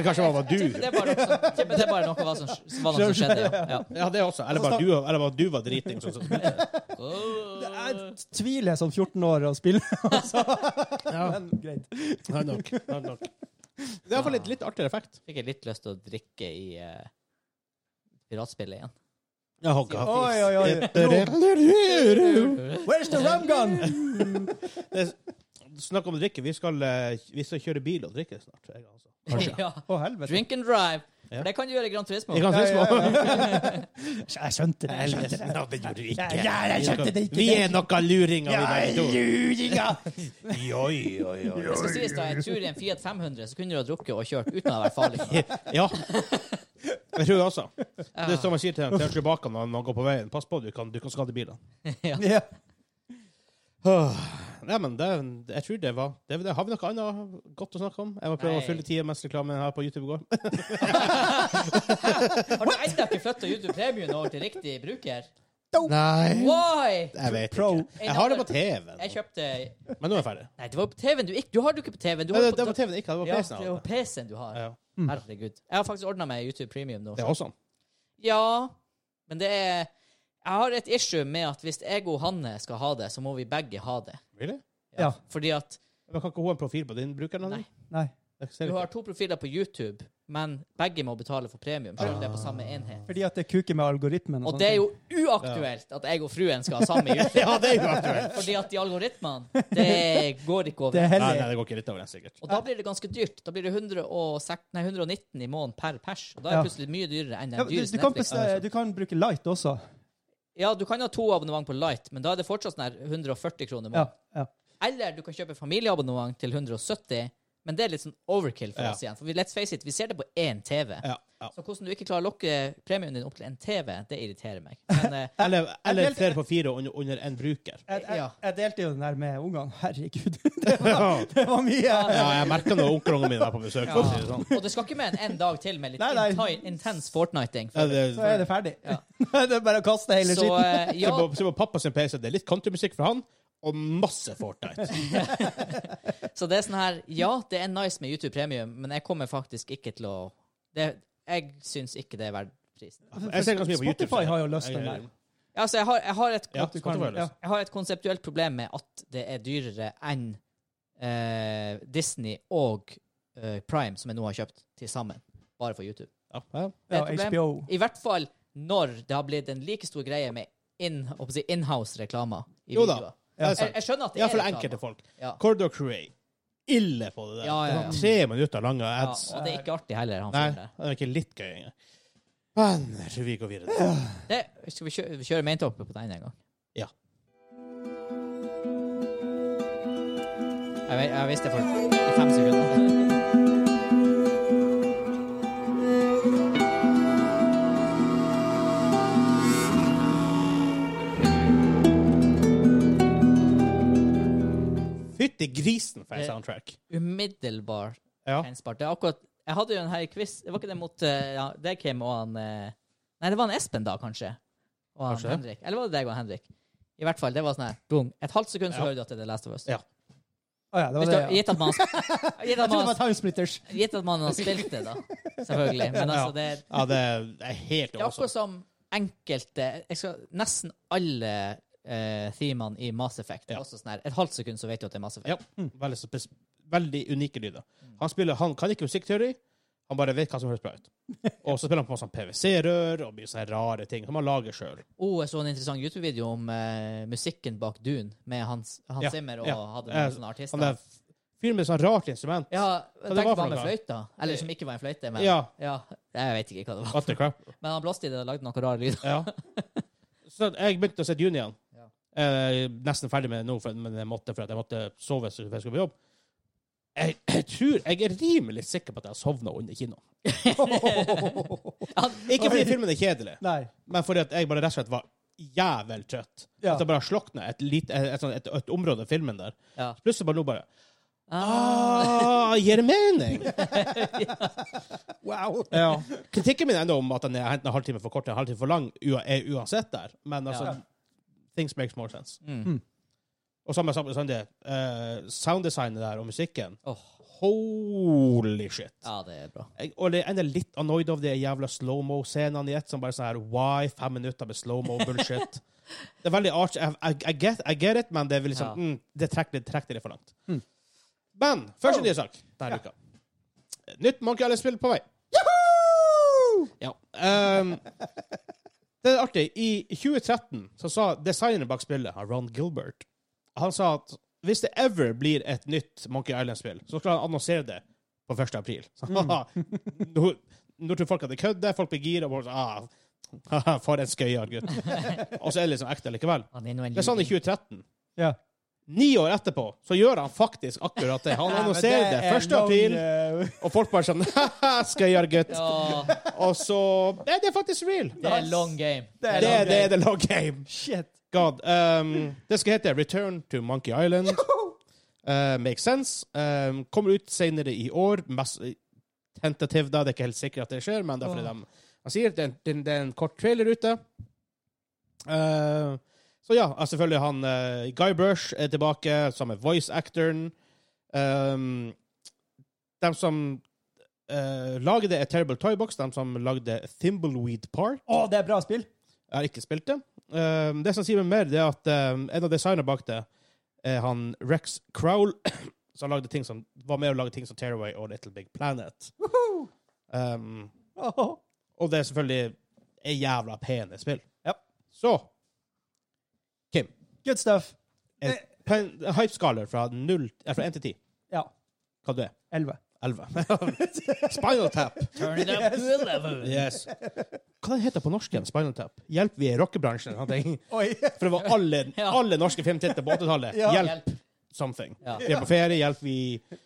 kanskje det var Tipper du. det er bare noe som, tipper det er bare noe hva som, hva noe som skjedde. Ja. Ja, det også. Eller bare du, eller bare du var driting. Sånn, som spilte det. Ja. Jeg tviler jeg som 14 år å spille, altså. Men greit. Nei, nok. Nei, nok. Det er iallfall litt, litt artigere effekt. Fikk jeg litt lyst til å drikke i eh, piratspillet igjen. Ja, hogga. Oi, oi, oi. Where's the rum gun? Snakk om drikke. Vi skal, eh, vi skal kjøre bil og drikke snart. jeg, Altså. Kanskje. Ja. Å, helvete. Drink and drive. Ja. For det kan du gjøre i Gran Turismo. Vi kan Ja, ses ja, på. ja. Jeg skjønte det. Jeg skjønte det. Nei, det gjorde vi ikke. Ja, jeg skjønte det ikke. Vi er noen luringer, Ja, vi begge to. luringa! Oi, oi, oi. Det skal sies da, En tur i en Fiat 500 så kunne du ha drukket og kjørt uten å være farlig. Ja. Jeg tror det også. altså? Det er Ja. som jeg sier til dem, til Chewbacca når man går på veien. Pass på, du kan, du kan skade bilen. Ja. Åh. Nei, men det, jeg tror det var det, var det. Har vi noe annet godt å snakke om? Jeg må prøve Nei. å fylle tida mens reklamen her på YouTube går. Har du ennå ikke flytta YouTube Premium over til riktig bruker? Nei. Why? Jeg vet Pro. ikke. Jeg har det på TV-en. Jeg kjøpte Men nå er jeg ferdig. Nei, det var på TV-en du ikke Du har det jo ikke på TV-en. Du Nei, har det, det det var på TV-en, ikke det var ja, PC-en. det er jo hadde. PC-en du har. altså. Ja, Herregud. Jeg har faktisk ordna meg YouTube Premium nå. det er også. Ja, men det er Jeg har et issue med at hvis jeg og Hanne skal ha det, så må vi begge ha det. Really? Ja. Fordi at Men kan ikke hun ha en profil på din bruker? eller noe? Nei. Nei. Jeg ser du ikke. har to profiler på YouTube, men begge må betale for premium, selv om det er på samme Ah. enhet. Fordi at det kuker med algoritmen. Og sånne det er ting. jo uaktuelt at jeg og fruen skal ha samme YouTube. Ja, det er jo aktuelt. Fordi at de algoritmene, det går ikke over. Det er Nei, heldig. nei, det går ikke litt over den, sikkert. Og da blir det ganske dyrt. Da blir det 106, nei, 119 i måneden per pers. Og da er Ja. det plutselig mye dyrere enn Ja, den du, du, dyreste kan Netflix. bestille- du kan bruke light også. Ja, du kan ha to abonnement på Light, men da er det fortsatt sånn her 140 kroner i Ja, måneden. ja. Eller du kan kjøpe familieabonnement til 170, men det er litt sånn overkill for Ja. oss igjen. For vi, let's face it, vi ser det på én TV. Ja, ja. Så hvordan du ikke klarer å lokke premien din opp til en TV, det irriterer meg. Men eh, Eller, eller delte- flere på fire under, under en bruker. Jeg, jeg, Ja. jeg delte jo den der med ungene. Herregud, det var, det var mye! Ja, jeg merker når onkelungen min er på besøk. for å si det sånn. Og det skal ikke mer enn en dag til med litt Nei, nei. inti- intens fortniting. Ja, For, det, Så er det ferdig. Ja. Det er bare å kaste hele så skitten. eh, Se ja, på, se på pappa sin PC, det er litt countrymusikk fra han, og masse Fortnite. så det er sånn her Ja, det er nice med YouTube Premium, men jeg kommer faktisk ikke til å det, Jeg syns ikke det er verdt prisen. Jeg ser ganske mye på YouTube. Spotify har jo løst Jeg- den der. Altså, jeg har, jeg har et Ja, At du Spotify har kan- ja. løst. Jeg har et konseptuelt problem med at det er dyrere enn eh, Disney og eh, Prime, som jeg nå har kjøpt, til sammen. Bare for YouTube. Ja, ja. Det er Ja, et problem. HBO. I hvert fall når det har blitt en like stor greie med in, håper jeg å si, inhouse-reklamer. i Jo da, videoer. det er Jeg, sant. jeg skjønner at det Ja, for er det enkelte folk. Ja. Corridor Crew ille på det der. Ja, ja, ja. Det var Tre minutter lange Ja, ads. og det er ikke artig heller. han Nei, fyren der. det er ikke litt gøy engang. Men jeg tror vi går videre. Det, skal vi kjøre, kjøre maintopet på den en gang? Ja. Jeg, ve- jeg visste det for i fem sekunder. Fytti grisen for en soundtrack. Umiddelbar Ja. Kjensbart. Det er akkurat Jeg hadde jo en her i quiz. Det var ikke det mot eh, ja, deg, Kim, og han eh, Nei, det var han Espen, da, kanskje. Og han Kanskje. Henrik. Eller var det deg og Henrik? I hvert fall. Det var sånn her dung. Et halvt sekund, så Ja. hører du at det er The Last of Us. Ja. Å ja, det var Hvis det. du- Ja. Gitt at man gitt Jeg at trodde det man, var Timesplitters. gitt at man har spilt det, da. Selvfølgelig. Men altså, det, er- Ja, det er det er helt det er awesome. akkurat som enkelte jeg skal, Nesten alle eh, themene i Mass Effect. Ja. er Også sånn her. Et halvt sekund, så vet du at det er Mass Effect. Mm. Ja, veldig, spes- veldig unike lyder. Han, spiller, han kan ikke musikkteori, Han bare vet hva som høres bra ut. Og så spiller han på sånn PwC-rør og mye sånne rare ting som han lager sjøl. Oh, jeg så en interessant YouTube-video om eh, musikken bak Dune, med Hans, Hans Ja, Zimmer og ja. hadde Eh, noen sånne artister. Han er f- fyr med sånn rart instrument. ja, det jeg var tenkte for bare med noe? fløyta. Eller som ikke var en fløyte, men Ja. Jeg vet ikke hva det var. What the crap. Men han blåste i det og lagde noen rare lyder. Ja. Så jeg begynte å se Dune igjen. Ja. Eh, nesten ferdig med det nå, for, men jeg måtte, for at jeg måtte sove så- for jeg skulle på jobb. Jeg, jeg tror, jeg er rimelig sikker på at jeg har sovna under kinoen. Ikke fordi filmen er kjedelig, Nei. men fordi at jeg bare rett og slett var jævel trøtt. Ja. At jeg bare slokna et, lite- et, sånn- et, et område av filmen der. Ja. Plutselig bare nå bare Ah, Ah. gir det mening! Wow. Ja. Kritikken min er enda om at den er enten en halvtime for kort eller en halvtime for lang, ua- er uansett der. Men altså, Ja. things makes more sense. Mm. Og samme samme som det, eh, sounddesignet der og musikken. Åh. Holy shit. ja, det er bra. Jeg, og det ender litt annoyed av de jævla slow-mo-scenene i ett, som bare sånn her Why fem minutter med slow-mo-bullshit? det er veldig artig. Jeg, jeg, jeg, get- jeg get it, men det, er vel liksom, Ja. mm, det trekker det, trekker det litt for langt. Men første nye sak denne uka. Nytt Monkey Island-spill på vei. Ja. ehm, det er artig. I 2013 så sa designeren bak spillet, han Ron Gilbert, han sa at hvis det ever blir et nytt Monkey Island-spill, så skal han annonsere det på 1. april. Så, nå, nå tror folk at det kødder, folk blir gira. og bare sånn, Ah, for en skøyere gutt. Og så er det liksom ekte likevel. Han er nå en Det er sånn i 2013. Ja. Ni år etterpå så gjør han faktisk akkurat det. Han annonserer det 1. april, eh, og folk bare sånn Haha, skøyere gutt. Ja, Og så Nei, det er faktisk real. det er long game. Det er Det, long er- det er the long game. Shit. God. ehm, det skal hete Return to Monkey Island. Eh, makes sense. Ehm, kommer ut senere i år. Mass tentativ, da. Det er ikke helt sikkert at det skjer, men det er fordi Åh. de, han sier det er, en- det, er en- det er en kort trailer ute. Eh, så ja, altså selvfølgelig han eh, Guy Brush er tilbake, som er voice actoren. Ehm, de som eh, lager det, er Terrible Toybox. De som lagde Thimbleweed Park. Å, det er bra spill. Jeg har ikke spilt det. Um, det som sier meg mer, det er at um, en av designerne bak det er han Rex Crowell, som lagde ting som, var med å lage ting som Tearaway og Little Big Planet. Um, Åh. og det er selvfølgelig en jævla pene spill. Ja. Så Kim, Good stuff. en, på en hypeskaler fra, null- eh, fra 1 til 10, Ja. hva du er? 11. 11. Spinal Tap. Turn it up to eleven. Yes. Hva den heter den på norsk igjen? Spinal Tap? Hjelp, vi er i rockebransjen. eller noe ting. Oi. For det var alle, Ja. alle norske filmtitler på 80-tallet. Ja. Hjelp. Hjelp. something. Ja. Vi er på ferie, hjelp vi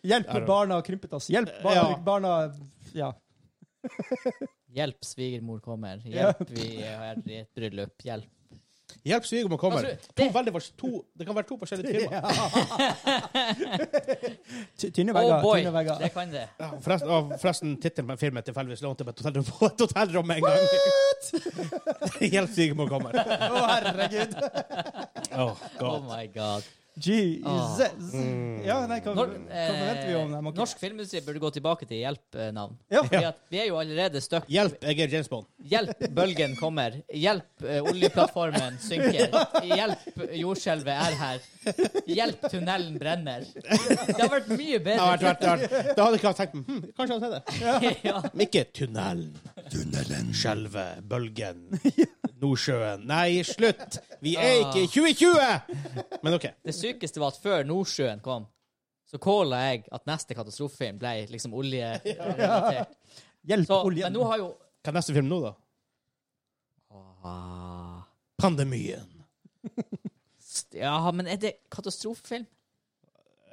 Hjelp med barna krympet oss. Hjelp barna, Ja. barna Ja. Hjelp, svigermor kommer. Hjelp, vi er i et bryllup. Hjelp. Hjelp svigermor kommer. Jeg tror- To veldig fors- to, det kan være to forskjellige timer. Ty- Tynne Oh vegger. boy, tynne vegger. det kan det. Ja, Forresten, og forresten tittelen på filmen tilfeldigvis lånte på et hotellrom, på et hotellrom en gang. Hjelp svigermor kommer. Å, herregud. Oh, Oh God. my god. Jesus. Ja, nei, hva, hva Når, forventer vi om eh, dem? Ah. Ok. Mm. norsk filmindustri burde gå tilbake til hjelp-navn. Ja. Fordi at Vi er jo allerede stuck. Hjelp, jeg er James Bond. Hjelp, bølgen kommer. Hjelp, eh, oljeplattformen synker. Hjelp, jordskjelvet er her. Hjelp, tunnelen brenner. Det har vært mye Det har vært, bedre. vært, vært. Da hadde ikke jeg tenkt hm, Kanskje han sier det. Ja. Men ikke tunnelen. Tunnelen. Skjelvet. Bølgen. Nordsjøen. Nei, slutt! Vi er ikke i 2020! Men OK. Det sykeste var at før Nordsjøen kom, så calla jeg at neste katastrofefilm ble liksom oljerelatert. Hjelp Så, men oljen. nå har jo Hva er neste film nå, da? Ah. Pandemien. Ja, men er det katastrofefilm?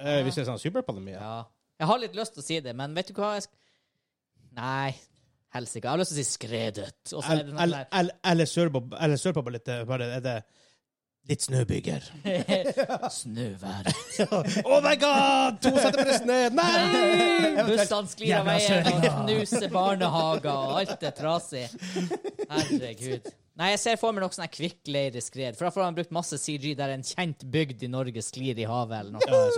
Eh, hvis det er sånn superpandemi? Ja. Ja. Jeg har litt lyst til å si det, men vet du hva? Jeg sk Nei, helsike. Jeg har lyst til å si 'Skredet'. Og så er det noe Eller- der. eller- Eller sørpå eller sørpå på litt eh, bare, Er det litt snøbyger? 'Snøvær'. oh my god! To centimeter snø! Nei! Bussene sklir Jævla av veien og søring. knuser barnehager, og alt er trasig. Herregud. Nei, jeg ser for meg noe sånn her kvikkleireskred, for da får han brukt masse CG der en kjent bygd i Norge sklir i havet eller noe. Ja, det er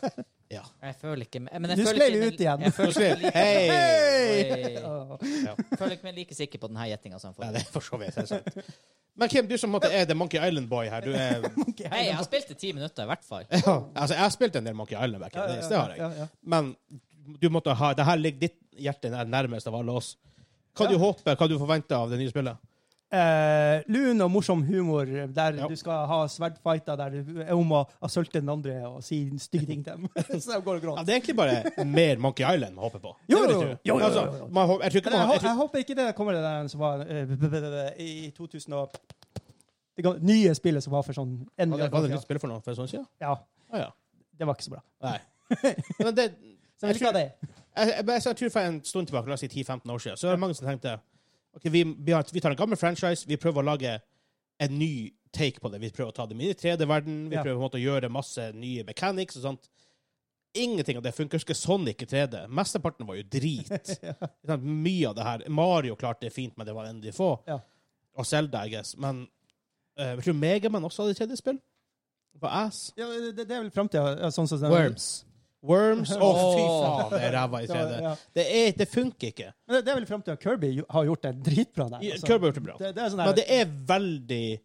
sant. Ja. Jeg føler ikke men jeg Nå føler sklei ikke- vi ut igjen. Jeg føler ikke like, Hei! Oi. Åh. Jeg føler ikke meg like sikker på denne gjettinga som Nei, forrige. det er for så vidt det er sant. Men Kim, du som måtte er The Monkey Island-boy her, du er Hei, jeg har spilt i ti minutter i hvert fall. ja, Altså, jeg har spilt en del Monkey Island back in the days, det har jeg. ja, ja. Men du måtte ha, det her ligger ditt hjerte nær- nærmest av alle oss. Hva du håper, hva du forventer av det nye spillet? Eh, lun og morsom humor der Ja. du skal ha sverdfighter der du er om å assalte den andre og si stygge ting til dem. så de går Ja, og gråter. det er egentlig bare mer Monkey Island man håper på. Jo, Det vil jeg jo, tro. jo, jo, jo, Altså, jo. man hå- jeg tror ikke Men jeg, man hå- jeg tror- jeg håper ikke det kommer det der som var eh, b- b- b- b- i 2000 og Det ga- nye spillet som var for sånn en Var det- var det et milliard nytt spill for noen for en sånn siden? Ja, Ah, ja. det var ikke så bra. Nei. Men det, Så jeg vil ikke ha det. jeg, jeg, jeg, jeg tror for en stund tilbake, la oss si 10-15 år siden, så er det mange som tenkte ok, vi, vi, har, vi tar en gammel franchise, vi prøver å lage en ny take på det. Vi prøver å ta dem inn i 3D-verden, vi Ja. prøver på en måte å gjøre masse nye mechanics og sånt. Ingenting av det funker. Husker Sonic i 3D. Mesteparten var jo drit. Ikke sant? Mye av det her. Mario klarte det fint, men det var en av de få. Ja. Og Zelda, I guess. Men eh, jeg tror Megaman også hadde 3D-spill. På ass. Ja, men det, det er vel framtida, sånn som den- Worms. Worms. Å, fy Åh. faen, det er ræva i 3D. Ja, ja. Det, er, det funker ikke. Men det, det er vel fremtiden. Kirby jo- har gjort det dritbra der. altså. Kirby har gjort det bra. Det, det er sånn Men der, det er veldig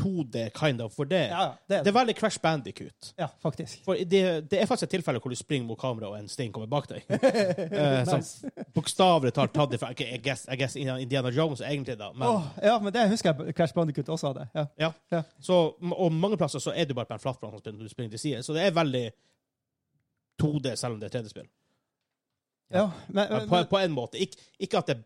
2D kind of for det. ja, det, Det er veldig Crash Bandicoot. ja, faktisk. For det, det er faktisk et tilfelle hvor du springer mot kamera, og en stein kommer bak deg. Eh, sånn, Bokstavelig talt tatt det fra okay, I, guess, I guess Indiana Jones egentlig, da. Men, Åh, ja, men det husker jeg Crash Bandicoot også hadde. Ja. ja. Ja. Så, og mange plasser så er du bare på en flatplan som du springer til siden. Så det er veldig 2D, selv om det er 3D-spill. Ja. Ja, men, men, På, på en måte. Ikk, ikke at, det,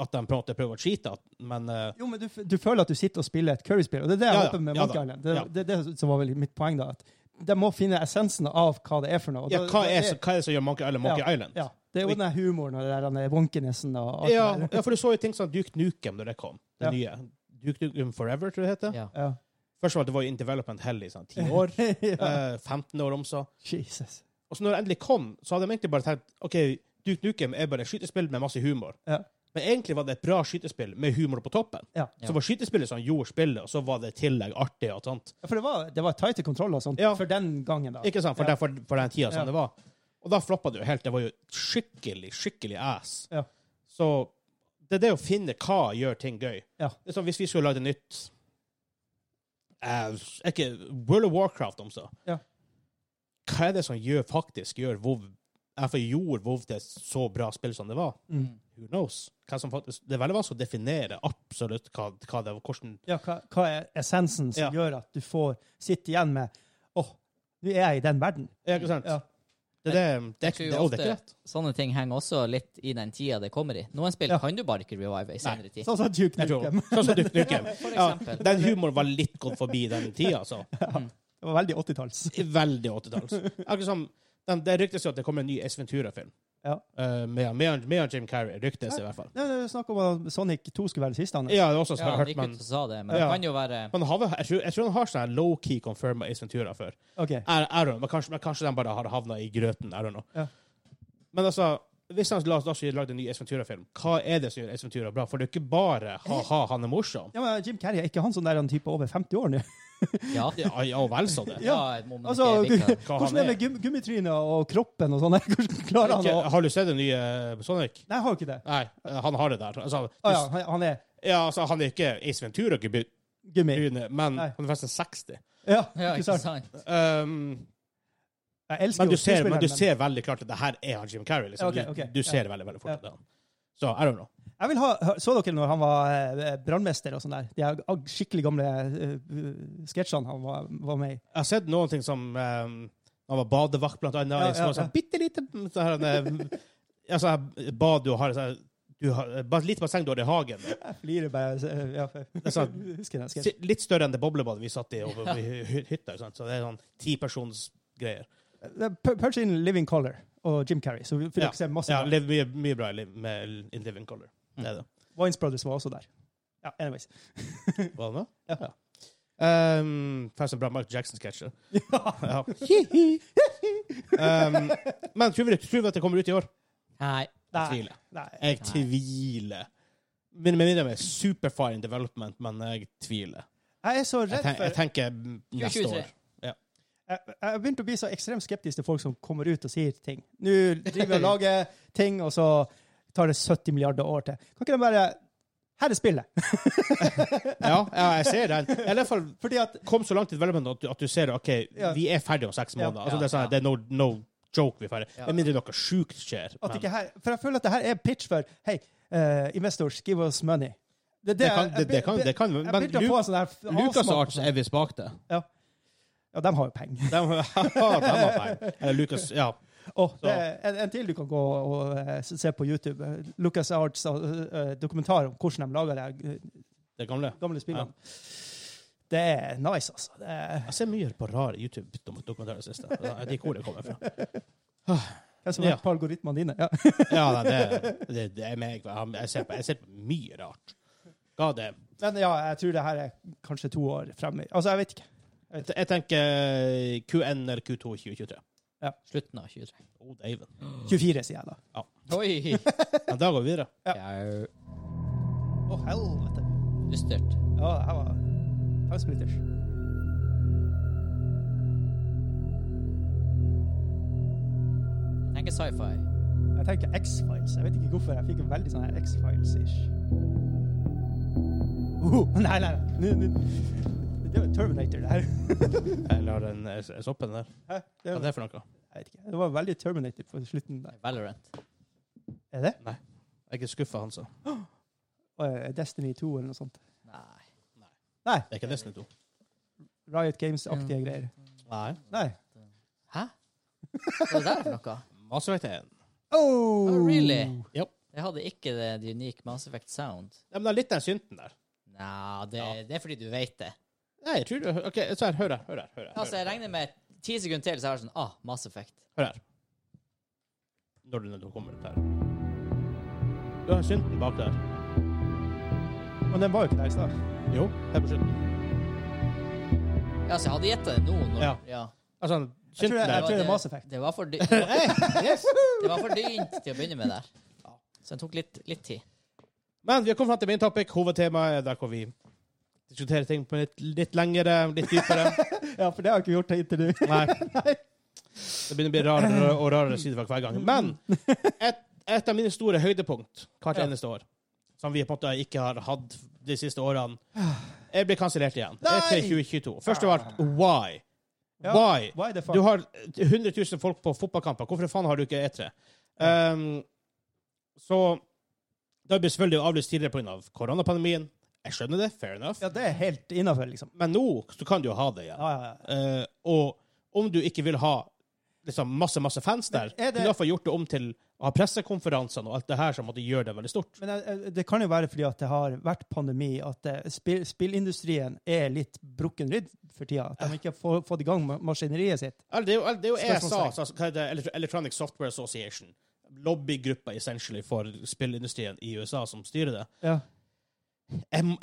at de på en måte prøver å cheate, at- men eh, jo, men du, f- du føler at du sitter og spiller et Curry-spill, og det er det jeg Ja, ja. håper med Ja Monkey da. Island. Det, Ja. det, det, som var vel mitt poeng, da. at De må finne essensen av hva det er for noe. og ja, da- hva, da er, så- hva er det som gjør Monkey Island Monkey Island? Ja, det er jo den der humoren og den der wonkinessen og alt Ja, det der. ja, for du så jo ting som Duke Nukem da det kom. Det Ja. nye. Duke Nukem Forever, tror jeg det heter. Ja. Ja. Først var det var jo in development hell i sånn ti år. ja. eh, 15 år om så. Jesus. Og så når det endelig kom, så hadde de egentlig bare tenkt OK, Duke Nukem er bare et skytespill med masse humor. Ja. Men egentlig var det et bra skytespill med humor på toppen. Ja. Så var skytespillet som gjorde spillet, og så var det i tillegg artig og sånt. Ja, For det var, det var tighte kontroller og sånt Ja. for den gangen, da. Ikke sant? For, Ja. den- for, for den tida som Ja. det var. Og da floppa det jo helt. Det var jo skikkelig, skikkelig ass. Ja. Så det er det å finne hva gjør ting gøy. Ja. Det er som hvis vi skulle lagd et nytt eh, ikke, World of Warcraft, om så. Ja. Hva er det som gjør, faktisk gjør WoW Hvorfor gjorde WoW til et så bra spill som det var? Mm. Who knows? Hva som faktisk, det er veldig vanskelig å definere absolutt hva, hva det var. Hvordan Ja, hva, hva er essensen som Ja. gjør at du får sitte igjen med Åh, nå er jeg i den verden. Ja, ikke sant? Ja. Det, det, det, det, Jeg det, tror det, jo og det er ikke lett. ofte sånne ting henger også litt i den tida det kommer i. Noen spill Ja. kan du bare ikke revive i senere tid. Sånn som Duke Jeg tror, Nukem. sånn som Duke Nukem. For Ja, eksempel. den humoren var litt gått forbi den tida, altså. Det var veldig 80-talls. Veldig 80-talls. Akkurat som den- Det ryktes jo at det kommer en ny S. Ventura-film. Ja. Eh, med, med, med Jim Carrey. Ryktes det i hvert fall. Det er snakk om at Sonic 2 skulle være det siste. Han. Ja, det er også så jeg Ja, har han hørt gikk man, ut og sa det, men det Sånn Ja. kan jo være man har, vel- jeg, tror, jeg tror han har sånn low-key confirma Ace Ventura før. Ok. Er, er hun, men kanskje, men kanskje de bare har havna i grøten. I don't know. Ja. Men altså, hvis han la oss da skulle lagd en ny Ace Ventura-film, hva er det som gjør Ace Ventura bra? For det er ikke bare ha-ha, han er morsom. Ja, men Jim Carrey, er ikke han sånn der han type over 50 år nå? Ja. Ja, ja og vel så det. ja må man Altså, ikke gu- like det. Hva han hvordan er det med gum gummitrynet og kroppen og sånn? der? Hvordan klarer han å Ikke, har du sett den nye eh, Sonic? Nei, jeg har jo ikke det. Nei, eh, han har det der. Altså, Å ja, han- han er ja, altså, han er ikke Ace Ventura-gryne, gummi. men Nei. han er forresten 60. Ja, Ja, ikke ikke sant? sant? Um, Jeg elsker men, jo du ser, men skuespilleren, du ser veldig klart at det her er han Jim Carrey. Liksom. Ok, ok, Du, du ser veldig veldig fort at det er han. Så I don't know. Jeg vil ha, hør- Så dere når han var eh, brannmester og sånn der? De her ag- skikkelig gamle eh, sketsjene han var, var med i. Jeg har sett noen ting som um, Han var badevakt, blant annet. Ja, Ja, ja, ja, ja. Sånn, bitte lite så her, han, eh, altså, her bad du har sånn, du har, bare Litt basseng du har i hagen. Jeg flirer bare. eh, Ja, for- er sant. husker den sketsjen. Si- Litt større enn det boblebadet vi satt i over i hy- hy- hytta. Sant? Så det er sånn tipersonsgreier. Det er Pur- Purge in Living Color og Jim Carrey. Så vi får dere se masse. Ja, bra. liv, mye, mye bra i liv, med In Living Color. Det er det. Wines Brothers var også der. Ja, anyways. Var det med? Ja. Um, Forresten, bra Mark Jackson-sketsjer. Ja. um, men tror vi, tror vi at det kommer ut i år? Nei. Nei. Tviler. Nei. Jeg tviler. Med med mindre med superfine development, men jeg tviler. Jeg er så Jeg, redd ten, jeg for tenker mm, neste 2023. år. Jeg jeg har begynt å bli så ekstremt skeptisk til folk som kommer ut og sier ting. Nå driver vi og lager ting, og så tar det 70 milliarder år til. Kan ikke de bare Her er spillet! Ja, ja, jeg ser den. I hvert fall Fordi at kom så langt i development at du, at du ser OK, Ja. vi er ferdige om seks Ja. måneder. Altså, Ja, det er, sånn, ja. det er no, no joke vi får. Ja. Med mindre noe sjukt skjer. At Men ikke her, for jeg føler at det her er pitch for Hei, eh, investors, give us money. Det, er det kan, det, det kan, jeg- det kan jeg Men begynte å få Lu- sånn her f- Lucas avsmak. Arts er visst bak det. Ja, de har jo penger. De, de har feil. Eller Lucas Ja. Åh, Så- det er en, en til du kan gå og eh, se på YouTube. Lucas Arts eh, dokumentar om hvordan de lager de her, eh, Det gamle. gamle spillene. Det er nice, altså. Det er, Jeg ser mye på rar YouTube-dokumentarer i det siste. Jeg vet ikke hvor det kommer fra. hvem som Ja. vet på algoritmene dine? Ja. Ja, nei, det, det, det er meg. Jeg ser, på, jeg ser på mye rart. God damn. Men ja, jeg tror det her er kanskje to år fremme. Altså, jeg vet ikke. Jeg, jeg tenker eh, QN eller Q2 2023. Slutten av 23. Oh, Daven. 24, sier jeg da. Oi! Men da går vi videre. Jau. Å, helvete. Dystert. Ja, det her var tankesplitters. Jeg tenker sci-fi. Jeg tenker X-Files. Jeg vet ikke hvorfor. Jeg fikk en veldig sånn her X-Files-ish. Oh, nei, nei, nei. Nå- nå- Det var Terminator, det her. Jeg lar den eh, jeg- jeg stopper den der. Hæ? Hva Det er var, det for noe? jeg vet ikke. Det var veldig Terminator på slutten der. Valorant. Er det? Jeg er ikke skuffa, han sa. Det Og Destiny 2 eller noe sånt. Nei. er ikke Destiny 2. Riot Games-aktige greier. Nei. Nei. Hæ? Hva er det der for noe? Mass Effect 1. Oh! Oh, really? Ja. Det hadde ikke det, det unique Mass Effect Sound. Ja, men det er litt den synten der. Nei, det, Ja. det er fordi du vet det. Nei, jeg tror du OK, så her, hør her. Hør her. Hør her, Altså, jeg regner med ti sekunder til, så er det sånn Ah, Mass Effect. hør her. Når den nå kommer ut her. Du har synten bak der. Men den var jo ikke der i stad. Jo, her på slutten. Ja, så jeg hadde gjetta det nå. Når, ja. Ja. Altså, synten jeg- jeg der. tror- det er Mass Effect. Det var for, dy det Yes! var for dynt til å begynne med der. Så det tok litt, litt tid. Men vi har kommet frem til main topic. Hovedtemaet er der hvor vi diskuterer ting på litt, litt lengre, litt dypere. Ja, for det har jeg ikke gjort inntil nå. Nei. Det begynner å bli rarere og rarere sider for hver gang. Men et, et av mine store høydepunkt hvert Ja. eneste år, som vi på en måte ikke har hatt de siste årene, jeg blir kansellert igjen. E Det er til 2022. Først av alt, why? Ja. Why? Why the fuck? Du har 100 000 folk på fotballkamper. Hvorfor faen har du ikke E3? Um, så da ble selvfølgelig avlyst tidligere pga. Av koronapandemien. Jeg skjønner det, fair enough. Ja, det er helt innafor, liksom. Men nå så kan du jo ha det igjen. Ja, ja, ja. Eh, og om du ikke vil ha liksom, masse masse fans der, Men er det- kunne du iallfall gjort det om til å ha pressekonferansene og alt det her som måtte gjøre det veldig stort. Men jeg- jeg- det kan jo være fordi at det har vært pandemi, at eh, spill, spillindustrien er litt brukken rydd for tida. At de ikke har få- fått i gang ma- maskineriet sitt. Eller, det er jo, eller, det er jo ESA, Spørsmålstegn. altså, hva er det, Elekt- Electronic Software Association, lobbygruppa essentially for spillindustrien i USA, som styrer det. Ja. Jeg, må-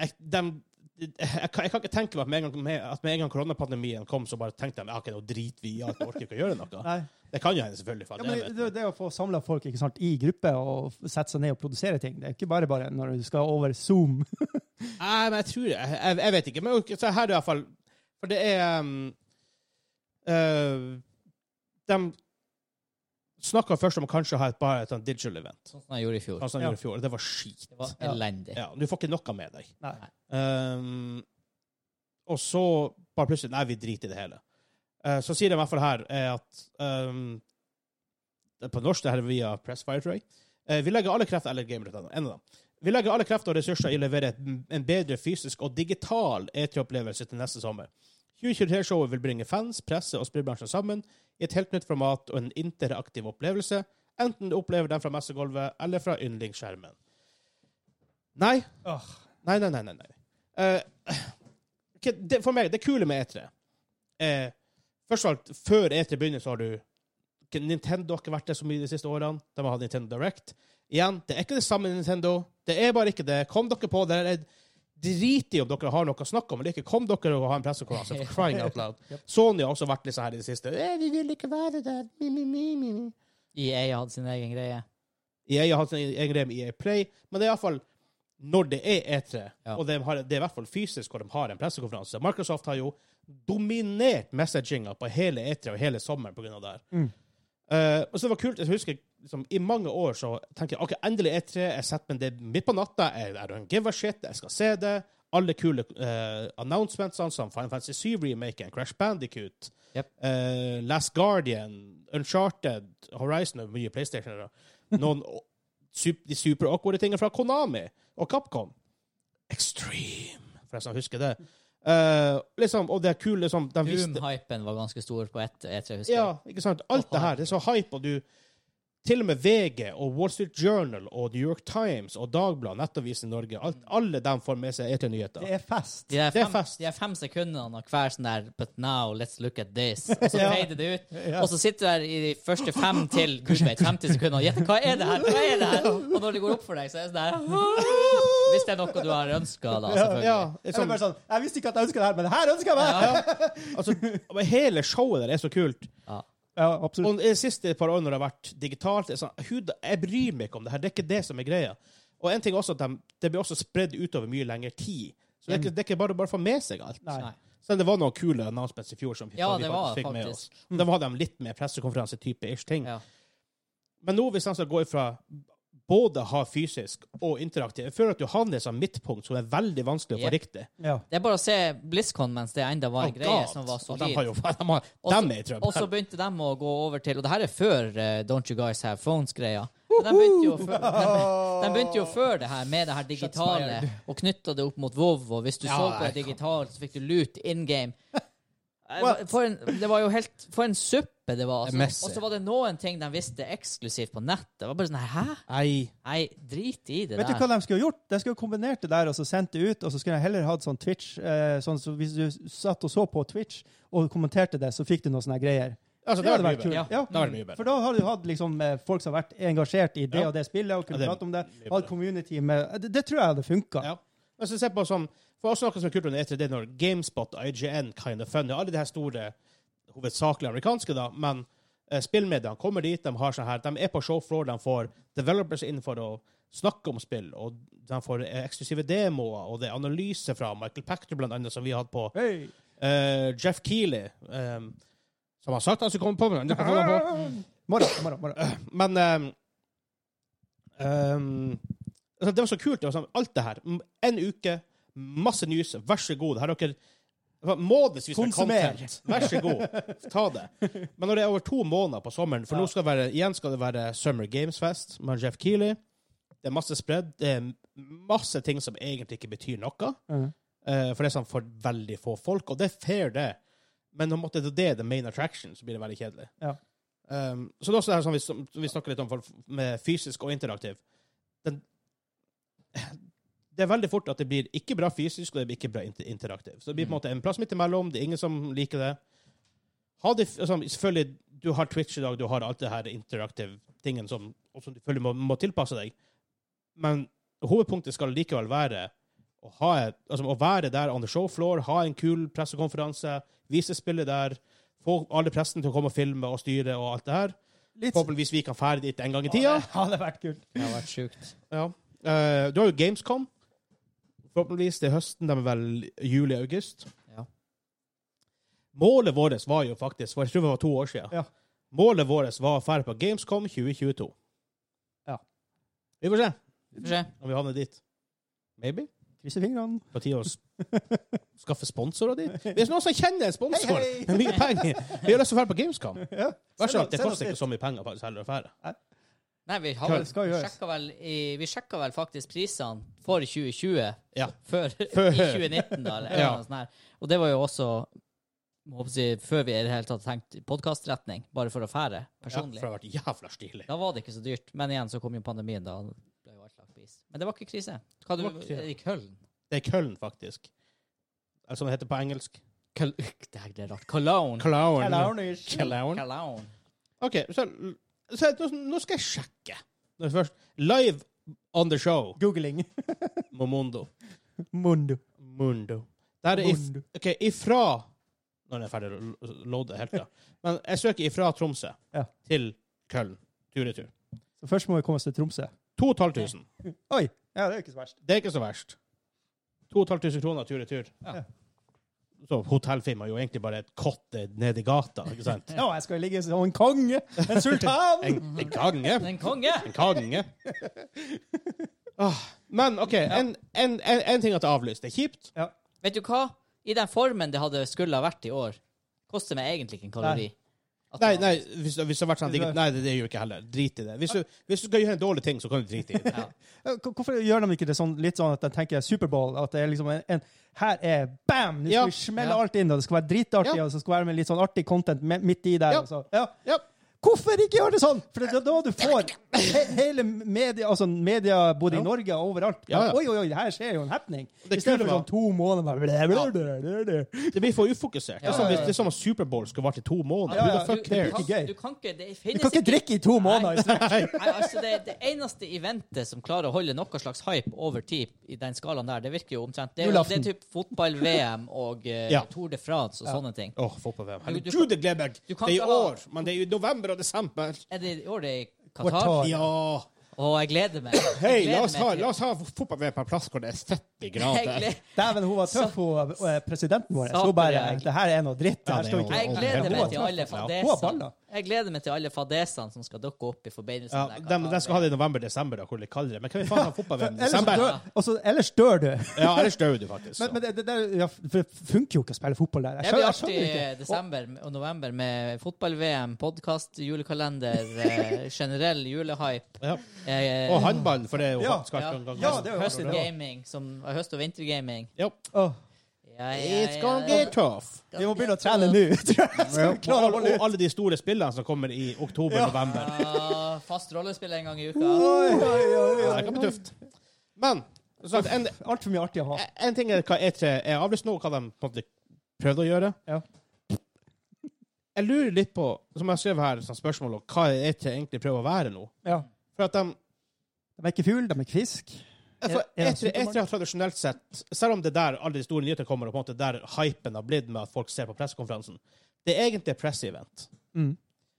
jeg, dem- jeg, kan, jeg kan ikke tenke meg at med en gang, med, at med en gang koronapandemien kom, så bare tenkte de at nå driter vi i alt, vi orker ikke å gjøre noe. Nei. Det kan jo hende, selvfølgelig. faen, Ja, jeg vet. men det, det å få samla folk ikke sant, i gruppe og f- sette seg ned og produsere ting, det er ikke bare bare når du skal over Zoom. Nei, men jeg tror jeg, jeg, jeg vet ikke. Men ok, så her er det iallfall For det er um, eh, De snakka først om kanskje å ha et bare et sånt digital event, Sånn som jeg gjorde i fjor. sånn som de Ja. gjorde i fjor. Det var skit. Det var Ja. elendig. Ja, Du får ikke noe med deg. Nei. Um, og så bare plutselig Nei, vi driter i det hele. Eh, så sier de i hvert fall her er at um, det er På norsk det her er via Press Firetrack. Eh, vi legger alle krefter eller gamer.no, en av dem. Vi legger alle krefter og ressurser i å levere et, en bedre fysisk og digital E3-opplevelse til neste sommer. 2023-showet vil bringe fans, presse og spillbransjen sammen i et helt nytt format og en interaktiv opplevelse, enten du opplever den fra messegulvet eller fra yndlingsskjermen. Nei, Nei, nei, nei. nei, nei. Eh, ok, det, for meg, det kule med E3 eh, Først og alt, før E3 begynner, så har du ok, Nintendo har ikke vært det så mye de siste årene. De har hatt Nintendo Direct. Igjen, det er ikke det samme Nintendo. Det er bare ikke det. Kom dere på det. Jeg driter i om dere har noe å snakke om eller ikke. Kom dere og ha en pressekonferanse. For crying out loud. Sony har også vært litt sånn her i det siste. Eh, vi vil ikke være der. Mi, mi, mi, mi, mi. EA E hadde sin egen greie. EA E har hatt sin egen greie med EA Play, men det er iallfall når det er E3, Ja. og de har, det er i hvert fall fysisk hvor de har en pressekonferanse. Microsoft har jo dominert messaginga på hele E3 og hele sommeren pga. det her. Mm. Eh, og så det var kult, jeg husker liksom, I mange år E så tenkte jeg ok, endelig E3, jeg setter meg ned midt på natta, jeg I don't give a shit, jeg skal se det. alle kule eh, announcementsene som Final Fantasy 7 Remake, Crash Bandicoot, Yep. eh, Last Guardian, Uncharted, Horizon og mye PlayStation. Noen o- sup- de super awkwarde tingene fra Konami og Capcom. Extreme, for jeg som husker det. Eh, liksom, og det er kule liksom, de viste, Doom-hypen var ganske stor på ett E3, husker ja, ikke sant? Alt Og det her. Det er så hype, og du Til og med VG og Wall Street Journal og New York Times og Dagbladet, Nettavisen i Norge, alt, alle dem får med seg E E3-nyheter. Det er fest. De der Det er fem, fest. de der fem sekundene av hver sånn der But now, let's look at this. Og så Ja. fader det ut. Ja. Og så sitter du der i de første fem til gud vet, 50 sekunder og gjetter hva er det her? Hva er det her? Og når det går opp for deg, så er det sånn der Hvis det er noe du har ønska, da, selvfølgelig. Ja, det er Eller bare sånn, sånn, Jeg visste ikke at jeg ønska det her, men det her ønsker jeg meg! Ja. altså, men hele showet der er så kult. Ja. Ja, absolutt. Og de siste par årene når det har vært digitalt, det er sånn, hud, jeg bryr meg ikke om det her. Det er ikke det som er greia. Og en ting er også at de, det blir også spredd utover mye lengre tid. Så det er ikke, det er ikke bare bare å få med seg alt. Nei. Nei. Selv om det var noen kule announcements i fjor som vi, Ja, vi det var fikk med oss. faktisk. Da hadde de litt mer pressekonferanse-type ish ting. Ja. Men nå hvis han skal gå ifra både ha fysisk og interaktiv Jeg føler at du havner i et sånt midtpunkt som er veldig vanskelig å få Yep. riktig. Ja. Det er bare å se BlizzCon mens det enda var en Og greie galt. som var Og de har solid. jo de har, Også- dem er i Og så trøbbel. begynte de å gå over til Og det her er før eh, Don't You Guys Have Phones-greia. Men De begynte, jo før, de, de begynte jo før det her med det her digitale og knytta det opp mot WoW. Og hvis du Ja, så på nei, det digitalt, så fikk du loot in game. Eh, What? For en, det var jo helt For en suppe det var. Messy. Altså. Og så var det noen ting de visste eksklusivt på nettet. Det var bare sånn her, Hæ? Nei. Nei, drit i det Vet du der. hva de skulle ha gjort? De skulle ha kombinert det der og så sendt det ut, og så skulle de heller hatt sånn Twitch eh, sånn så Hvis du satt og så på Twitch og kommenterte det, så fikk du noen sånne greier. Altså, Det det hadde var vært mye kult. bedre. bedre. Ja. Det hadde vært mye bedre. For da har du hatt liksom, eh, folk som har vært engasjert i det Ja. og det spillet, og Ja, kunne det er prate om det. mye Hatt bedre. community med Det, det tror jeg hadde funka. Ja. Men så Altså, se på som, for også noe som er kult under E3, det er når GameSpot og IGN kind of fun. Det er alle de her store, hovedsakelig amerikanske, da, men eh, spillmediene kommer dit, de har sånn her, de er på showfloor, de får developers inn for å snakke om spill, og de får eh, eksklusive demoer, og det er analyse fra Michael Pachter, blant annet, som vi hadde på Hey. eh, Jeff Keighley, eh, som har sagt han skulle komme på, men han ikke får komme på. Morgen, morgen, morgen. Men ehm, ehm, altså, Det var så kult. Det var sånn, alt det her. M- En uke, masse news. Vær så god. Her har dere det var månedsvis med Konsumer. content. Vær så god, ta det. Men når det er over to måneder på sommeren For nå skal det være, igjen skal det være Summer Games Fest med Jeff Keeley. Det er masse spredd. Det er masse ting som egentlig ikke betyr noe. Mhm. Eh, for det er sånn for veldig få folk, og det er fair, det. Men når måtte det det er the main attraction, så blir det veldig kjedelig. Ja. Um, så det er også det her som vi, som vi snakker litt om for, med fysisk og interaktiv. Den, det er veldig fort at det blir ikke bra fysisk, og det blir ikke bra inter interaktiv. Så det blir på en måte en plass midt imellom. Det er ingen som liker det. Ha det f- altså, selvfølgelig, du har Twitch i dag, du har alt det her interaktive tingen som, og som du føler må, må tilpasse deg. Men hovedpunktet skal likevel være å, ha et, altså, å være der on the show floor, ha en kul pressekonferanse, vise spillet der, få alle pressen til å komme og filme og styre og alt det her. Litt Forhåpentligvis vi kan ferdig dit en gang i Ja, tida. det hadde vært kult. Det har vært sjukt. Ja. Eh, du har jo Gamescom. Forhåpentligvis til høsten. De er vel juli-august. Ja. Målet vårt var jo faktisk for Jeg tror det var to år siden. Ja. Målet vårt var å dra på Gamescom 2022. Ja. Vi får se Vi får se. om vi havner dit. Maybe. Krysser fingrene. På tide å s- skaffe sponsorer dit. Hvis noen som kjenner en sponsor Hei, hei! med mye penger Vi har lyst til å dra på Gamescom. Ja. Vær så snill, det Send oss koster ikke så mye penger faktisk heller å dra. Nei, vi, har Hva vel, skal vi, gjøres? sjekka vel, i, vi sjekka vel faktisk prisene for 2020 Ja. før, Før. i 2019, da. Eller, Ja. noe sånt her. Og det var jo også må jeg si, før vi i det hele tatt tenkte podkastretning, bare for å fære Ja, for personlig. det har vært jævla stilig. Da var det ikke så dyrt. Men igjen så kom jo pandemien, da ble jo alt lagt på is. Men det var ikke krise. Hva du, Det var ikke krise. I Køln? Det er Køln, faktisk. Eller som det heter på engelsk. Mm. Køl, det her blir rart. Cologne. Clown. Hello, Clown. Cologne. OK, så, så nå, nå skal jeg sjekke. Nå Først, live on the show. Googling. Momondo. Mundo. Mundo. Det her er if, Mundo. OK, ifra Nå er jeg ferdig å lodde helt, da. Men jeg søker ifra Tromsø Ja. til Køln. Tur-retur. Så først må vi komme oss til Tromsø. 2500. Oi! Ja, det er jo ikke så verst. Det er ikke så verst. 2500 kroner tur-retur. Ja. Så hotellfirma er jo egentlig bare et kott nede i gata, ikke sant? Ja, jeg skal ligge som en konge! En sultan! En, en gange. En konge! En konge. Men OK, en, en, en, en ting at det er avlyst. Det er kjipt. Ja. Vet du hva? I den formen det hadde skulle ha vært i år, koster meg egentlig ikke en kalori. At Nei, det- nei, hvis, hvis det har vært sånn Hvis det digert, er- Nei, det, det gjør ikke heller. Drit i det. Hvis du, hvis du skal gjøre en dårlig ting, så kan du drite i det. Ja, h- Hvorfor gjør de ikke det sånn, litt sånn at de tenker Superbowl? At det er liksom en, en Her er bam! Nå skal Ja. vi smelle Ja. alt inn, og det skal være dritartig, Ja. og så skal det være med litt sånn artig content me- midt i der. Ja. og så- Ja. Ja. Hvorfor ikke gjøre det sånn?! For det er da du får he hele media, altså media både Ja. i Norge og overalt. Ja, ja. Oi, oi, oi, det her skjer jo en happening! Det I kule stedet for var- sånn to måneder bare blæ, blæ, blæ, blæ, blæ. Det blir for ufokusert. Det er Ja, som ja, hvis ja. det er som om Superbowl skulle vart i to måneder. Ja, Who ja. the fuck Du- cares? Du, Ikke gøy. kan- du kan ikke det Du finnes kan ikke drikke i to måneder! i strekk. Nei, altså det, det eneste eventet som klarer å holde noe slags hype over tid i den skalaen der, det virker jo omtrent Det er, jo- det Julaften. er typ fotball-VM og eh, Ja. Tour de France og sånne ting. Åh, fotball-VM. Du- du Herregud, det gleder jeg meg. du Det kan er i ikke ha- år, men det er i november og desember. Er det i år det er i Qatar. Qatar? Ja. Å, jeg gleder meg. Jeg Hei, gleder la oss meg ha, til- la oss ha fotball-VM på en plass hvor det er 70 Jeg grader. gleder, Dæven, hun var tøff, hun eh, presidenten vår. Sa Så bare det jeg. Det her er noe dritt. Det Ja, her det er står jo- ikke jeg gleder meg til alle Hun har baller. fadesene. Jeg gleder meg til alle fadesene som skal dukke opp i forbindelse Ja, med de, de skal ha det i november-desember, da, hvor det er kaldere. Men kan vi faen ha fotball-VM i Ellers, desember? dør, altså, ellers dør du. Ja, ellers dør du faktisk. Men, men det, det, der- ja, for det funker jo ikke å spille fotball der. Det Jeg blir skjønner, jeg artig skjønner i ikke. Og, eh, desember og november med fotball-VM, podkast, julekalender, eh, generell julehype. Ja. eh, Og håndball, for det er jo Ja. skal- Ja. kan- kan- Ja, kan- det er jo høst- artig, det. gaming, som er høst- og vintergaming. Ja. Åh, Ja, It's gonna get tough. vi må begynne å trene nå, tror jeg. Skal vi klare å Og, holde og ut. alle de store spillene som kommer i oktober-november. Ja, fast rollespill en gang i uka. Oi, oi, oi, Ja, oi. det kan bli tøft. Men så at en, Altfor mye artig å ha. en ting er hva E3 er avlyst nå, og hva de på en måte prøvde å gjøre. Ja. Jeg lurer litt på, som jeg skrev her, sånn spørsmål om hva E3 egentlig prøver å være nå. Ja. For at de De er ikke fugl, de er ikke fisk. for E Er- er det E3, Supermark? E3 har tradisjonelt sett, selv om det er der alle de store nyhetene kommer, og på en måte der hypen har blitt med at folk ser på pressekonferansen, det er egentlig et presseevent. Mm.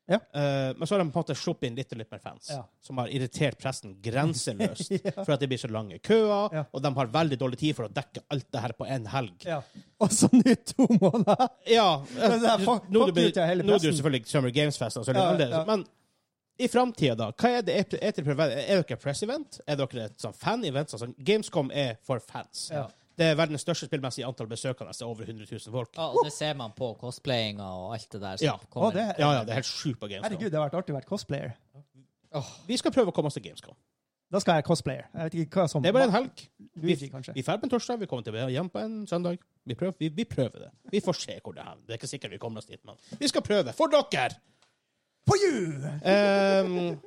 Ja. Eh, men så har de på en måte sluppet inn litt og litt mer fans, Ja. som har irritert pressen grenseløst for at det blir så lange køer, Ja. og de har veldig dårlig tid for å dekke alt det her på én helg. Ja. Og så nå i to måneder. Ja, eh, Men det er fuck- nå er fuck det you til hele nå er det jo pressen. selvfølgelig Summer Games-festen, så er det Ja, annerledes. ja. Men i framtida, da? Hva er det E3 E3 prøver å være? Er dere et press-event? Er dere et sånn fan-event? Sånn, Gamescom er for fans. Ja. Det er verdens største spillmessige antall besøkende. Det er over 100 000 folk. Ja, og det ser man på cosplayinga og alt det der. som Ja. kommer. Å, det, Ja, ja, det er helt sjukt på Gamescom. herregud, det har vært artig å være cosplayer. Vi skal prøve å komme oss til Gamescom. Da skal jeg være cosplayer. Jeg vet ikke hva som Det er bare en helg. Vi, Luigi, kanskje. vi drar på en torsdag, vi kommer til hjem på en søndag. Vi prøver, vi, vi prøver det. Vi får se hvor det er. Det er ikke sikkert vi kommer oss dit, men vi skal prøve. For dere! For you! Ehm,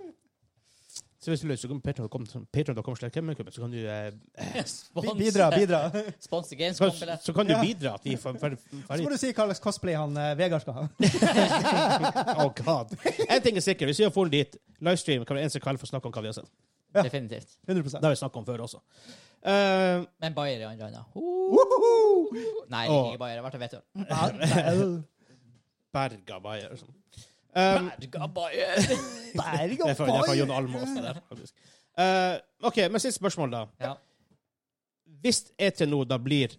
så hvis du har lyst, så kan Patreon.com Patreon.com slash Gamingklubben, så kan du eh, Sponse- Bidra, bidra. Sponse så, Gamescom-billett. så kan du Ja. bidra at vi får fer- Så ferdig. må du si hva slags cosplay han eh, Vegard skal ha. Oh god. En ting er sikker, hvis vi har fått dit livestream, kan vi eneste kveld få snakke om hva vi har sett. Ja. Definitivt. 100 Det har vi snakket om før også. Ehm, Men Bayer i andre hånda. Woho! Nei, det er Åh. ikke Bayer. Jeg har vært og vet det. Ja, vel. Berga Bayer. liksom. Ehm, Berga Bayer! Berg det og er fra, det er fra Bayer. Jon Almaas. det der, faktisk. Eh, OK, men siste spørsmål, da. Ja. Hvis E3 nå da blir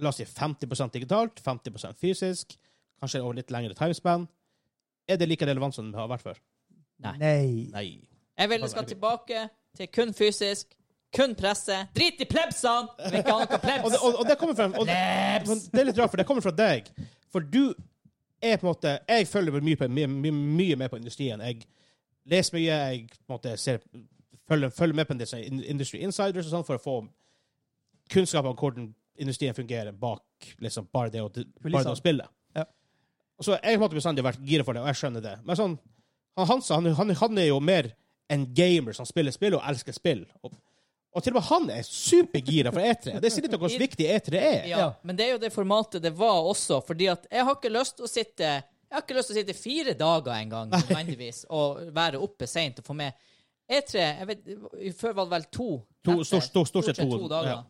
la oss si 50 digitalt, 50 fysisk, kanskje over litt lengre timespan, er det like relevant som det har vært før? Nei. Nei. Jeg vil du skal tilbake til kun fysisk, kun presse. Drit i plebsene! Jeg Vil ikke ha noe Og det, plebs! og, og det kommer fra og det, men Plebs! det er litt rart, for det kommer fra deg. For du er på en måte Jeg følger mye, på, mye, mye, mye med på industrien. Jeg leser mye, jeg på en måte ser, følger, følger med på en del sånne in- industry insiders og sånn for å få kunnskap om hvordan industrien fungerer bak liksom, bare det å, bare det å spille. Ja. Og Så jeg har på en måte bestandig vært gira for det, og jeg skjønner det. Men sånn, han Hansa han, han, han er jo mer en gamer som spiller spill og elsker spill. Og, og til og med han er supergira for E3. Det sier litt om hvor viktig E3 er. Ja, men det er jo det formatet det var også, fordi at jeg har ikke lyst til å sitte Jeg har ikke lyst til å sitte fire dager en gang nødvendigvis og være oppe seint og få med E3 jeg vet, Før var det vel to? To- netter. stort- stort- stort sett to, to dager. ja.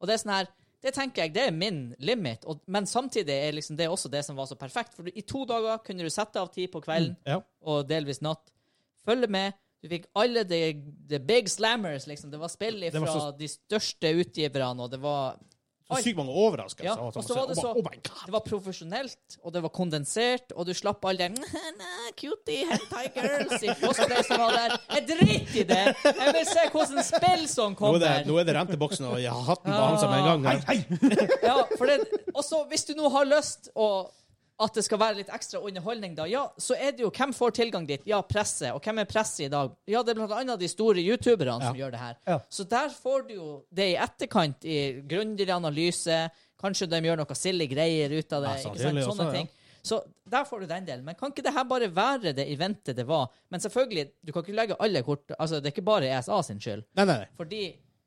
Og det er sånn her det tenker jeg, det er min limit, og, men samtidig er liksom det også det som var så perfekt. For du- i to dager kunne du sette av tid på kvelden, Ja. og delvis natt. Følge med. Du fikk alle the, the big slammers, liksom. Det var spill var fra så- de største utgiverne, og det var så Oi. sykt mange overraskelser. Ja, og sånn. og så var det oh, så- my- oh my god! Det var profesjonelt, og det var kondensert, og du slapp all den «Næ, Cutie, Hentai Girls i påskedeig som var der. Jeg driter i det! Jeg vil se hvordan spill Nå er, som det, kommer. nå er det renteboksen og ja, hatten på Hansa med en gang. her. Ja, for det, også, hvis du nå har lyst å at det skal være litt ekstra underholdning, da, ja, så er det jo hvem får tilgang dit? Ja, presse. Og hvem er presse i dag? Ja, det er blant annet de store youtuberne som gjør det her. Ja. Så der får du jo det i etterkant, i grundigere analyse. Kanskje de gjør noe silly greier ut av det. Ja, ikke sant? sannsynlig Sånne også, ja. ting. Så der får du den delen. Men kan ikke det her bare være det eventet det var? Men selvfølgelig, du kan ikke legge alle kort Altså, det er ikke bare ESA sin skyld. Nei, nei, nei. Fordi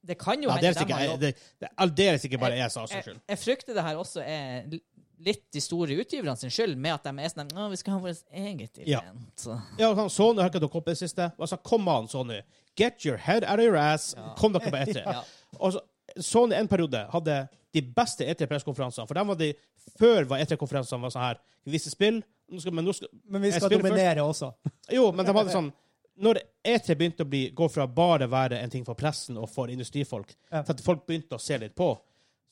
det kan jo Eh, Ja, det hende er de sikkert- E har jobb. det- det er aldeles ikke bare ESA sin Jeg, skyld. jeg frykter det her også er l- litt de store utgiverne sin skyld, med at de er sånn Å, vi skal ha vårt eget Ja. event. Ja, han, Sony har ikke dukket opp i det siste. Altså, kom an, Sony. Get your head out of your ass. Kom dere på etter. Ja. Og så- Sony en periode hadde de beste E3-pressekonferansene. For dem var de, før var E3-konferansene var sånn her Vi viser spill, nå skal, men nå skal Men vi Jeg skal spiller først. dominere også. Jo, men de hadde sånn Når E3 begynte å bli, gå fra bare å være en ting for pressen og for industrifolk, Ja. til at folk begynte å se litt på,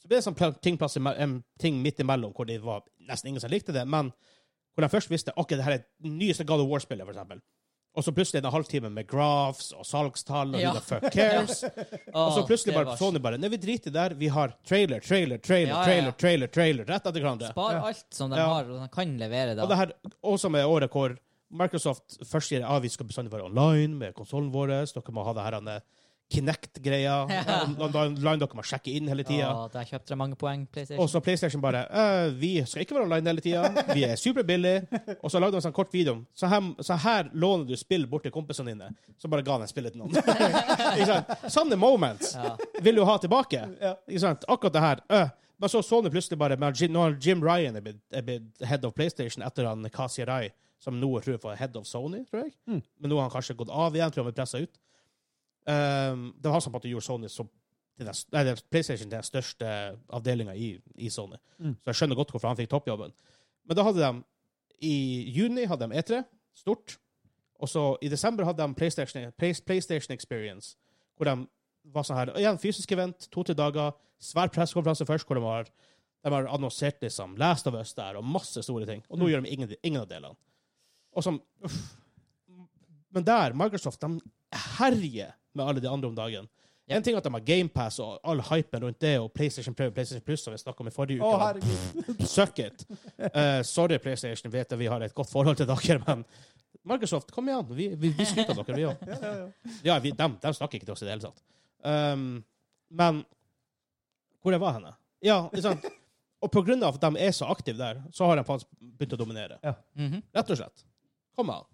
så ble det sånn pla- ting, plass ime- em, ting midt imellom hvor det var nesten ingen som likte det, men hvor de først visste ok, det her er det nyeste God of War-spillet, for eksempel. Og så plutselig en halvtime med graphs og salgstall og Ja. who the fuck cares. Og så plutselig bare Sony bare Nei, vi driter i det der. Vi har trailer, trailer, trailer, Ja, ja, ja. trailer, trailer, trailer, rett etter hverandre. Spar alt som de Ja. har, og de kan levere da. Og det her, også med året hvor Microsoft først sier at vi skal bestandig være online med konsollen vår, dere må ha det her denne Kinect-greia, Ja. online dere må sjekke inn hele tida. Å, der kjøpte de mange poeng, PlayStation. Og så PlayStation bare «Eh, Vi skal ikke være online hele tida. Vi er superbillige. Og så lagde de en sånn kort video. Så her, så her låner du spill bort til kompisene dine. Så bare ga de spillet til noen. Ikke sant? Sånne moments Ja. vil du ha tilbake. Ja. Ikke sant? Akkurat det her. øh. Men så så du plutselig bare men Jim, Nå har Jim Ryan er blitt, er blitt head of PlayStation etter han Kasi Rai, som nå tror jeg var head of Sony, tror jeg. Men nå har han kanskje gått av igjen, tror jeg han ble pressa ut. Um, det var han som på en måte gjorde Sony så til den, nei, det er PlayStation til den største avdelinga i, i Sony. Mm. Så jeg skjønner godt hvorfor han fikk toppjobben. Men da hadde de I juni hadde de E3, stort. Og så i desember hadde de PlayStation, Play- PlayStation Experience, hvor de var sånn her Igjen, fysisk event, to-tre dager, svær pressekonferanse først, hvor de har, de har annonsert liksom Last of Us der, og masse store ting. Og nå gjør de ingen, ingen av delene. Og som uff. Men der, Microsoft, de herjer med alle de andre om dagen. En ting er at de har GamePass og all hypen rundt det, og PlayStation Play og PlayStation Plus, som vi snakka om i forrige Å, uke. men herregud. Suck it. Eh, sorry, PlayStation. Vet jeg vi har et godt forhold til dere, men Microsoft, kom igjen. Vi, vi, vi skryter av dere, vi òg. Ja, ja, ja. Ja, vi, dem, dem snakker ikke til oss i det hele tatt. Um, men hvor jeg var henne? Ja, ikke sant? Og på grunn av at de er så aktive der, så har de faktisk begynt å dominere. Mhm. Rett og slett. Kom an.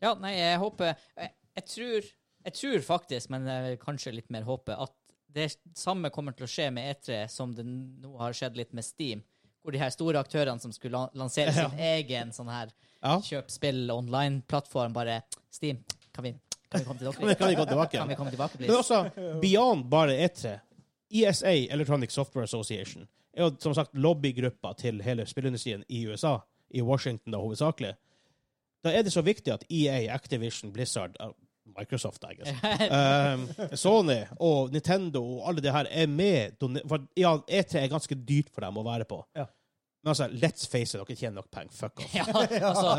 Ja, nei, jeg håper Jeg, jeg, tror, jeg tror faktisk, men jeg vil kanskje litt mer håpe, at det samme kommer til å skje med E3 som det nå har skjedd litt med Steam. Hvor de her store aktørene som skulle lan- lansere sin egen sånn her Ja. kjøp spill online-plattform, bare Steam, kan vi, kan vi komme til Men det dere? kan vi gå tilbake. Kan vi komme tilbake, Men please? også beyond bare E E3. ESA, Electronic Software Association, er jo som sagt lobbygruppa til hele spillindustrien i USA, i Washington da hovedsakelig. Da er det så viktig at EA, Activision, Blizzard, uh, Microsoft, I guess, um, Sony og Nintendo og alle de her er med. done- For, ja, E3 er ganske dyrt for dem å være på. Ja. Men altså, let's face it, dere tjener nok penger. Fuck off. Ja, Eh. altså,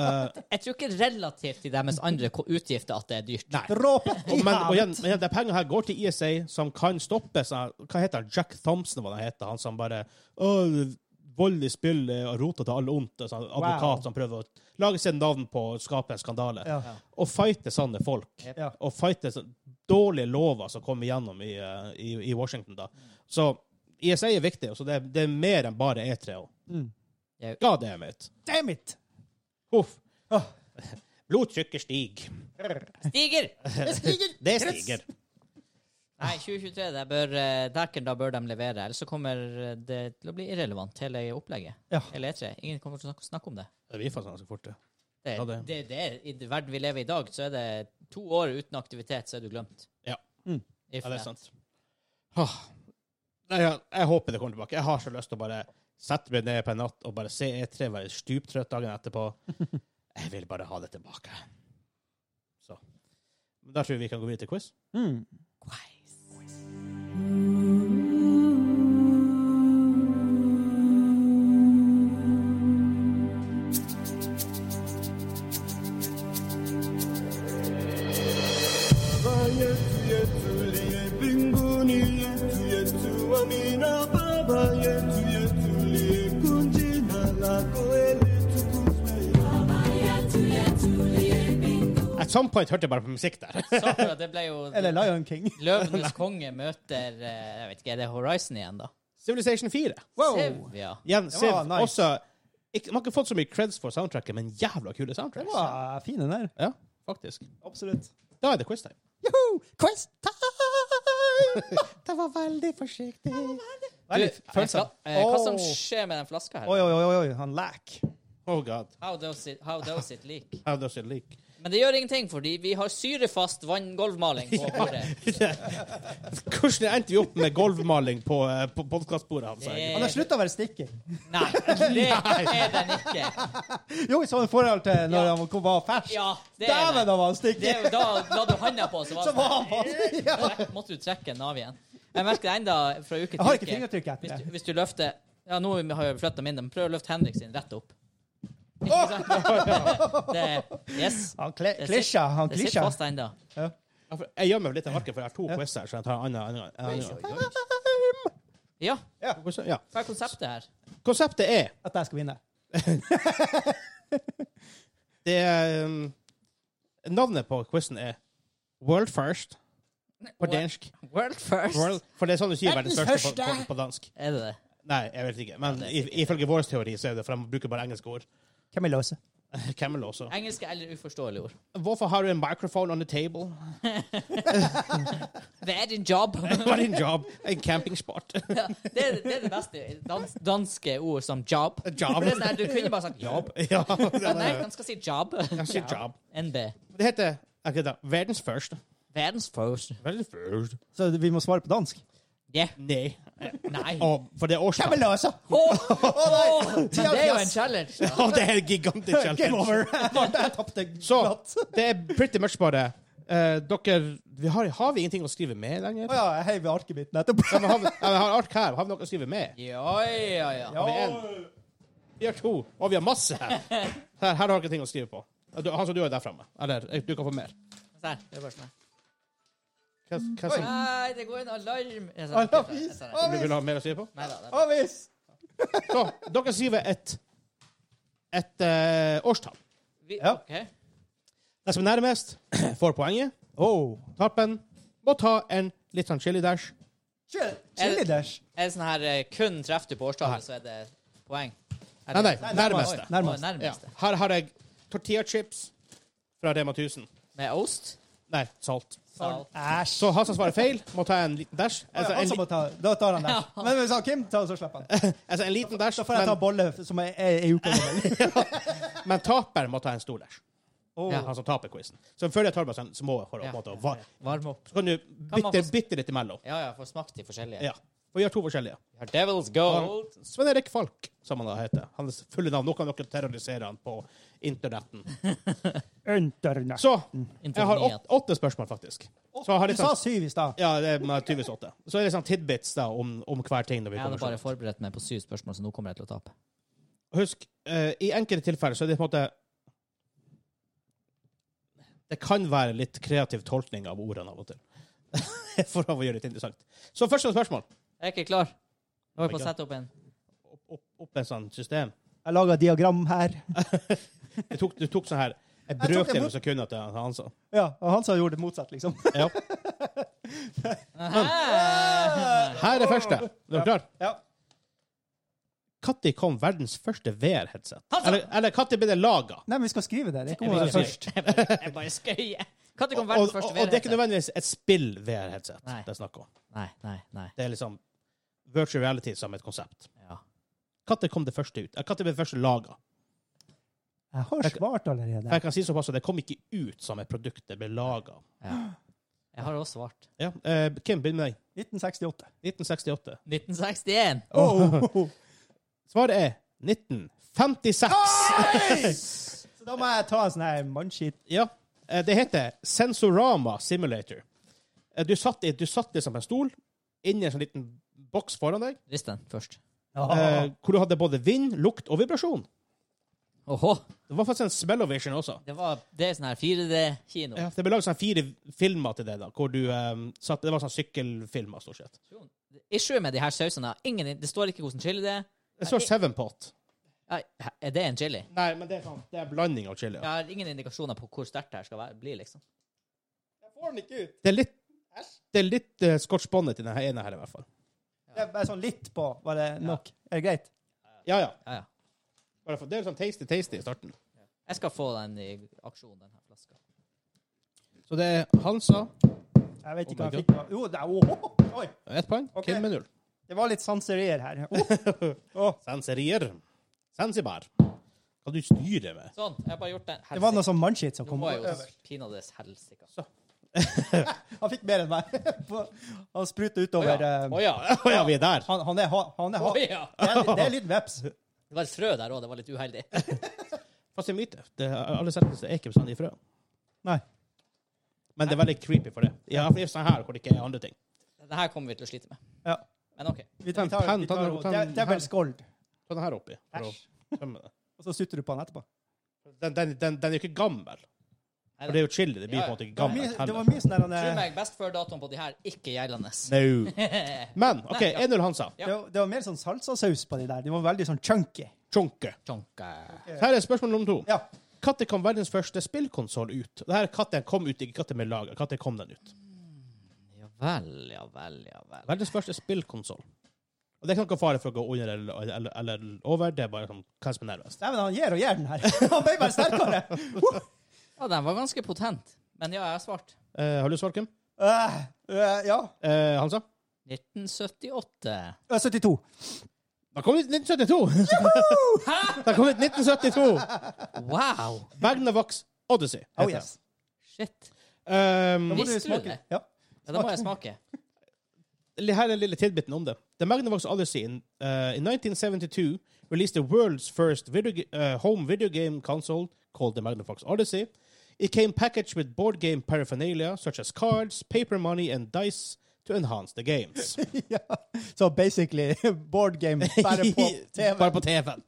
jeg tror ikke relativt til deres andre ko- utgifter at det er dyrt. Nei. Dråpe Og, i men, og igjen, havet. men igjen, de pengene her går til ISA, som kan stoppe sånn, Hva heter han? Jack Thompson, hva han heter? Han som bare «Å, Vold i spill er rota til alle ondt. og Sånn, advokat som prøver å lage sitt navn på å skape en skandale. Ja. Og fighte sånne folk. Yep. Ja. Og fighte sånne dårlige lover som kommer gjennom i, eh, i, i Washington. da. Så ISA er viktig, så det, er- det er mer enn bare E3. også. Mm. Ja. God damn it. Damn it! Huff. Åh. Blodtrykket stiger. Stiger! Det stiger. Nei, 2023, der bør, eh, derken da bør de levere. Ellers så kommer det til å bli irrelevant, hele opplegget. Ja. Hele E3. Ingen kommer til å snakke, snakke om det. Vi får ganske fort det. Det, Ja, det. det- det, er I den verden vi lever i i dag, så er det to år uten aktivitet, så er du glemt. Ja. Mm. If Ja, det er that. sant. Åh. Nei, jeg, jeg håper det kommer tilbake. Jeg har så lyst til å bare sette meg ned på en natt og bare se E3, være stuptrøtt dagen etterpå. Jeg vil bare ha det tilbake. Så. Men da tror jeg vi kan gå videre til quiz. Mm. Quiz. Some point hørte jeg bare på musikk der. Sakura, det ble jo Eller Lion King. Løvenes konge møter eh, Jeg vet ikke, er det Horizon igjen, da? Civilization 4. Wow! Sev, ja. Jevn Det var Civ. nice. Også ikke, Man har ikke fått så mye creds for soundtracket, men jævla kule Den soundtracks. var fin, den der. Ja, faktisk. Absolutt. Da er det quiz time. Joho! Quiz time! Det var veldig forsiktig. Du, Veldig eh, følsom. hva- eh, hva som Åh. skjer med den flaska her? Oi, oi, oi, oi, han lack. Oh god. How does it, how does it leak? How does it leak? Men det gjør ingenting, fordi vi har syrefast vanngolvmaling på bordet. Hvordan endte vi opp med gulvmaling på, eh, på podkastbordet hans? Det- Han har slutta å være stikker. Nei, det er den ikke. Jo, i sånn forhold til når Ja. han kom- var fersk. Ja, det er Dæven, den. da var han Det stikker! er jo da la du handa på, så var Så det var sånn, han fast. Ja. trekk- måtte du trekke den av igjen. Jeg merker det enda fra uke til uke. Jeg har ikke fingertrykk etter Hvis det. du, hvis du løfter Ja, nå har jeg flytta mine, men prøv å løfte Henrik sin rett opp. Ikke sant? Det, yes. Han Eh, kle- Det klisja. Han Det sitter klisja. fast ennå. Ja, for Jeg gjør meg litt av arket, for jeg har to quiz her. Så jeg tar en annen- en annen- en annen. Ja, Hvordan- Ja. hva er konseptet her? Konseptet er At jeg skal vinne. det er, um, Navnet på quizen er World First på dansk. World first. World, for det er sånn du sier verdens Verdens største på, på, første. på dansk. Er det det? Nei, jeg vet ikke. Men i- ifølge vår teori så er det, for de bruker bare engelske ord. Hvem er løse? Camel også. Engelske eller uforståelige ord? Hvorfor har du en microphone on the table? Hva er din job? Hva er din job? En campingsport. Ja, det, er, det er det beste dans, danske ord som job. Job. For det er sånn her, du kunne bare sagt job. ja, Men nei, han skal si job. jeg sier job. NB. Det heter ok, da, verdens første. Verdens first. Verdens første? Så vi må svare på dansk? Yeah. Nei. Nei. Å, for det er Hvem årstall. er løse? Åh! Åh! Men det er jo en challenge. da. Å, det er en gigantisk Game challenge. over. Jeg tapte Så glatt. det er pretty much bare eh, Dere vi har, har vi ingenting å skrive med lenger? Å ja, jeg heiv i arket mitt nettopp. Ja, men har, vi, ja, men har ark her. Har vi noe å skrive med? Ja, ja, ja. Har vi en? Vi har to. Og vi har masse her. Her, her har dere ting å skrive på. Du- Han som du har der framme. Eller eh, du kan få mer. Se her, det er bare sånn her. Hva, hva som Nei, det går en alarm. Jeg sa- Alarm. jeg sa det. du vil ha mer å skrive på? Neida, det er- Avis! Så, dere skriver et et eh, årstall. vi- Ja. ok. Den som er nærmest, får poenget. Oh. Tarpen må ta en litt sånn chili dash. Chili Er det- dash. Er det sånn her eh, kun treffer du på årstallet, så er det poeng? Er Nei, det- nei, Oi, nærmeste. oi, Nærmest. Ja. nærmeste. Her har jeg tortilla chips fra Rema 1000. Med ost? Nei, salt. Salt. Æsj. Så han som svarer feil, må ta en liten dash. Å Altså ja, han en, som må li- ta, da tar han den. Men hvis han Kim tar, så slipper han. altså en liten dash, Da får jeg ta men, bolle som er er i uka. men taper må ta en stor dash. Oh. Han som taper quizen. Så før jeg tar bare sånn små for å Ja. på en måte va- Varm opp. Så kan du Kan man bytte, få- bytte litt imellom. Ja, ja, får smakt de forskjellige. Ja. For vi har to forskjellige. Vi har Devil's Gold. Svein Erik Falk, som han da heter. Hans fulle navn. Nå kan dere terrorisere han på internetten. Internet. Så jeg har åtte, åtte spørsmål, faktisk. Så jeg har Du litt sa sånn, syv i stad. ja, det er med tydeligvis åtte. Så er det sånn tidbits da, om, om hver ting. Når vi Jeg hadde kommer bare sånn. forberedt meg på syv spørsmål, så nå kommer jeg til å tape. Husk, eh, i enkelte tilfeller så er det på en måte Det kan være litt kreativ tolkning av ordene av og til. For å gjøre det litt interessant. Så første spørsmål. Jeg er ikke klar. Nå er jeg på Oh my å sette opp en. Opp, opp, opp en sånn system. Jeg laga diagram her. Du tok, du tok sånn her Jeg tok det brøkdel mot- av sekundet til han- han sa. Ja, og han som gjorde det motsatt, liksom. Ja. Hæ? Her er første. Er du klar? Ja. Når kom verdens første VR-headset? Han sa- Eller, eller når ble det laga? Nei, men vi skal skrive det. Det Jeg kommer Jeg være skal først. Jeg bare, jeg bare skøyer. Og, Når kom og, verdens og første det er ikke VR-headset? nødvendigvis et spill-VR-headset Nei. det er snakk om. Nei, nei, nei. Det er liksom virtual reality som et konsept. Ja. Når kom det første ut? Når ble det første laga? Jeg har svart allerede. Jeg kan si såpass at det kom ikke ut som et produkt. Det ble laga. ja. Jeg har også svart. Ja. eh, Kim, begynn med deg. 1968. 1968. 1961. Oh. Svaret er Ah! 1956. Så da må jeg ta en sånn her mannskit. Ja. Eh, Det heter Sensorama Simulator. Eh, Du satt, i, du satt liksom på en stol inni en sånn liten boks foran deg, Rist den først. Ah. eh, hvor du hadde både vind, lukt og vibrasjon. Åhå. Det var faktisk en smellovision også. Det, var, det er sånn her 4D-kino. Ja, det ble laget sånn fire filmer til det, da, hvor du eh, satt Det var sånn sykkelfilmer, stort sett. Issue med de her sausene er ingen, Det står ikke hvordan chili det er. Det står Seven Pot. Nei, Er det en chili? Nei, men det er sant. Det er en blanding av chili. Jeg har ingen indikasjoner på hvor sterkt det her skal være- bli, liksom. Jeg får den ikke ut. Det er litt, det er litt uh, scotch bonnet i denne ene her, i hvert fall. Det er bare sånn litt på. Var det nok? Er det greit? Ja, ja. Ja, ja. Bare for, det er sånn tasty-tasty i starten. Jeg skal få den i aksjon, den her flaska. Så det er Hansa Jeg vet ikke Oh hva my jeg fikk. på- Jo, det er åh, Oi! ett poeng, Ok. Kim med null. Det var litt sanserier her. Åh, åh. Sanserier. Sansibar. Hva du styrer med. Sånn. Jeg har bare gjort den. Det var noe sånn mannskitt som Nå kom må jeg jo over. pinadø helsike. Han fikk mer enn meg. På- Han spruta utover. eh, Å ja. Å ja, vi er der. Han, han er ha- han er ha- Oi, ja. Det er, det er litt veps. Det var et frø der òg, det var litt uheldig. Fast i myte. Det er, alle settelser er ikke bestandig i frø. Nei. Men det er veldig creepy for det. Ja, for det er sånn her hvor det ikke er andre ting. Det her kommer vi til å slite med. Ja. Eh. Men OK. Vi tar, vi Ta tar, den, vi ta den, tar, ta den. det, det er vel skold. Ta den Sånn her oppi. for å Æsj. tømme det. Og så sutter du på han etterpå. Den, den, den, den er jo ikke gammel. Nei, For det er jo chili. Det blir Ja, ja. på en måte ikke Det var gammelt mye, det var heller. mye sånn der han, Tro eh, meg, best før-datoen på de her ikke gjeldende. No. Men OK, Nei, ja. 1-0 Hansa. Ja. det, var- det var mer sånn salsasaus på de der. De var veldig sånn chunky. Chonke. Tjonka. Så her er spørsmål nummer to. Ja. Når kom verdens første spillkonsoll ut? Dette katten kom ut, ikke katten med lager. Når kom den ut? Ja vel, ja vel, ja vel. Verdens første spillkonsoll. Og det kan ikke fare for å gå under eller, eller, eller over. Det er bare sånn, hva som er nærmest. Nei, men han gir og gir den her. Han ble bare sterkere. Ja, den var ganske potent. Men ja, jeg har svart. Eh, har du svar, Kim? Eh, eh, ja. Eh, Hansa? 1978. Eh, 72. Da kom det 1972! da kom det 1972! Wow! Magnavox Odyssey. heter Oh det. yes. Shit. Um, Visste Må du det? Ja. Ja, da må jeg smake. li- her er den lille tidbiten om det. The Magnavox Odyssey in, uh, in 1972 released the world's first video, ga- uh, home video game console called the Magnavox Odyssey. It came packaged with board game paraphernalia such as cards, paper money, and dice to enhance the games. ja. Så basically board game bare på TV. Bare på TV-en.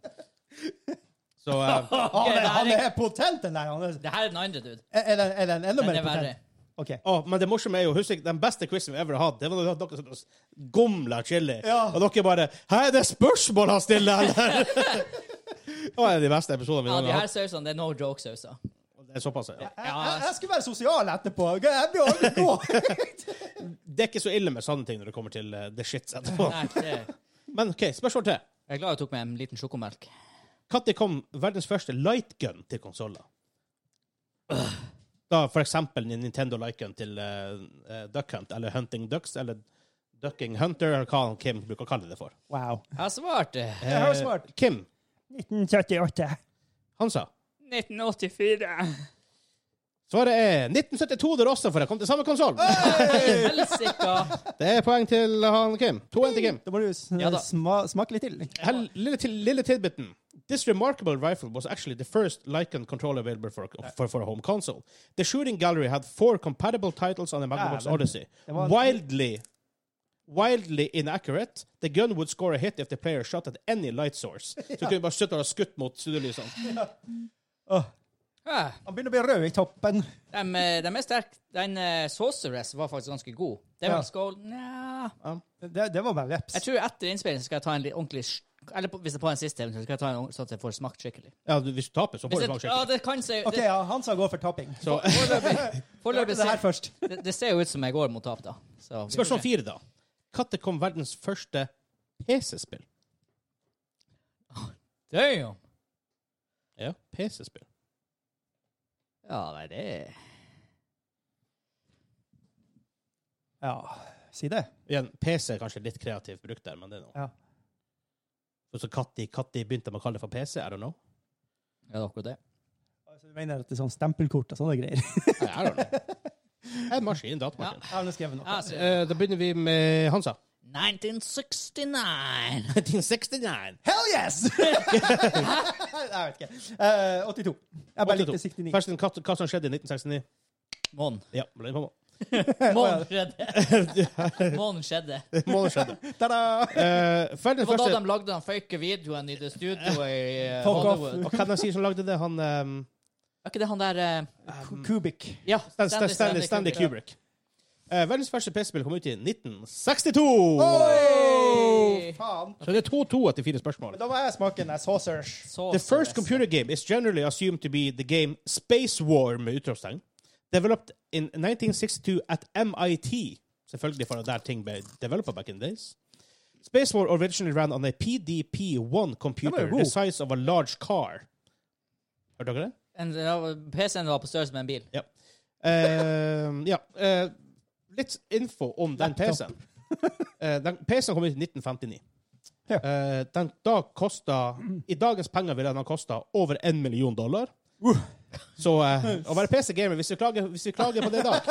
Så uh, Han Ok, det er, her han er- er potent, den der. Han er, Det her er den andre, dude. er, er den, er den enda Den mer er verre. potent? OK. å, Men det morsomme er jo, husk den beste quizen vi ever hadde, det var da dere satt og gomla chili. Ja. Og dere bare Hæ, er det spørsmål han stiller, eller?! det var en av de beste episodene vi Ja, noen de gang har her sausene, det er no joke-sauser. hatt. Det er såpass, ja. Jeg, jeg, altså. jeg skulle være sosial etterpå. Jeg blir aldri god. Det er ikke så ille med sånne ting når det kommer til eh, the shits etterpå. Nei, det- Men OK, spørsmål til. Jeg er glad jeg tok med en liten sjokomelk. Når kom verdens første lightgun til konsoller? Da for eksempel en Nintendo lightgun til eh, eh, Duck Hunt, eller Hunting Ducks, eller Ducking Hunter, eller hva han Kim bruker å kalle det for. Wow. Jeg har svart eh, Jeg har Eh, svart. Kim, 1978. han sa 1984. Svaret er 1972 der også, for jeg kom til samme konsoll. Ah! Helsika! Det er poeng til han Kim. 2-1 til Kim. Da må du sn- Ja da. sma smake litt til. Hell, lille, til, lille tidbiten. This remarkable rifle was actually the first Lycan controller available for, for, for a home console. The shooting gallery had four compatible titles on the Magnavox Dæven. Odyssey. Det var- Wildly, wildly inaccurate. The gun would score a hit if the player shot at any light source. Så du kunne bare slutte å ha skutt mot studiolysene. Åh, Ja, han begynner å bli rød i toppen. De, eh, de er sterke. Den eh, Sorceress var faktisk ganske god. Det Ja. var skål Nja Det, det var bare veps. Jeg tror etter innspillingen skal jeg ta en litt ordentlig sj- Eller på- hvis det er på en siste eventuelt, skal jeg ta en ordentlig- sånn at jeg får smakt skikkelig. Ja, du- hvis du taper, så Hvis får du jeg, smak ja, skikkelig. det kan se OK, det, ja, han sa gå for tapping. Så Foreløpig foreløpig Hørte det her ser- først. det, det ser jo ut som jeg går mot tap, da. Så, vi får spørsmål se. fire, da. Når kom verdens første PC-spill? Damn! Ja, PC-spill. Ja, nei, det er Ja, si det. Igjen, PC er kanskje litt kreativt brukt der, men det er noe. Ja. Og så Katti, Katti begynte med å kalle det for PC, I don't know. Ja, det er akkurat det. Altså, du mener at det er sånn stempelkort og sånne greier? Nei, I don't know. Det er En maskin, datamaskin. Jeg har nå skrevet noe. Ja, så- Eh, da begynner vi med Hansa. 1969! 1969. Hell yes! jeg vet ikke. Eh, 82. Jeg bare likte 69. Først en katt- hva som skjedde i 1969. Månen. Ja, ble det på må- Månen skjedde. Månen skjedde. måned skjedde. Ta-da! Eh, verdens Det var da første... de lagde den fake videoen i The Studio i eh, Fuck off. Hollywood. Og hva er det de sier som lagde det? Han... ehm, Er ikke det han der eh, Ku- Kubik. Ja, Stan- Stan- Stanley, Stanley Kubrick. Eh, verdens første PC-spill kom ut i 1962! Oi! Oi! Faen, faen! Så det er 2-2 etter fire spørsmål. Men da må jeg smake den der sausage. Så The first seriøst. computer game is generally assumed to be the game Space War med utropstegn. Developed in 1962 at MIT. Selvfølgelig for der ting ble developed back in the days. Space War originally ran on a PDP-1 Den computer var jo god. the size of a large car. Hørte dere det? En- ja, PC-en var på størrelse med en bil. Ja. Eh, ja. eh, litt info om den Laptop. PC-en. Eh, den PC-en kom ut i 1959. Ja. Eh, den da kosta I dagens penger ville den ha kosta over én million dollar. Uh. Så eh, å være PC-gamer, hvis, vi klager- hvis vi klager på det i dag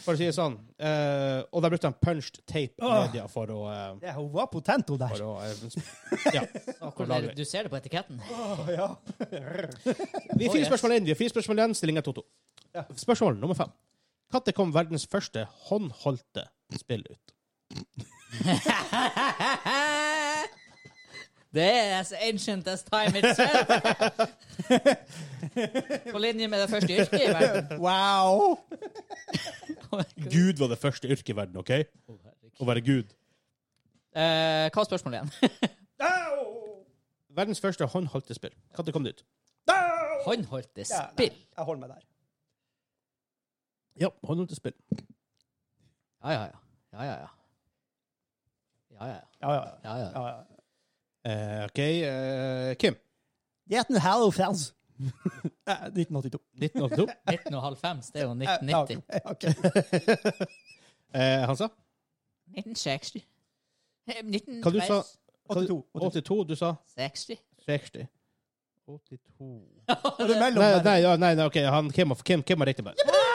For å si det sånn. Eh, og da brukte han punched tape Åh. media for å, eh, Ja, hun var potent, hun der. for å eh, Ja. Så For hvordan er lagring. det- Du ser det på etiketten. Å, ja. Vi er Oh, fire yes. spørsmål inn. Vi er fire spørsmål igjen. Stillinga 2-2. Ja. Spørsmål nummer fem. Når kom verdens første håndholdte spill ut? Det er as ancient as time itself. På linje med det første yrket i verden. Wow! Gud var det første yrket i verden, OK? Å være gud. Eh, hva er spørsmålet igjen? Au! Verdens første håndholdte spill. Når kom det ut? Au! Håndholdte Ja, nei, spill. Jeg holder meg der. Ja, håndholdte spill. Ja, ja, ja. Ja, ja, ja. Ja, ja, ja. Ja, ja, ja. ja, ja. ja, ja. Eh, OK, eh, Kim. Gjett en Hello Friends. Eh, 1982. 1982. 1995, det er jo Eh, ja, 1990. ok. Ja, ok. Eh, Hansa? 1960. Eh, Hva du sa? 82. 82. 82. Du sa 1960. 60. 82 Og det er mellom Nei, der. nei, ja, nei, nei OK. Han, Kim, Kim, Kim har riktig bare.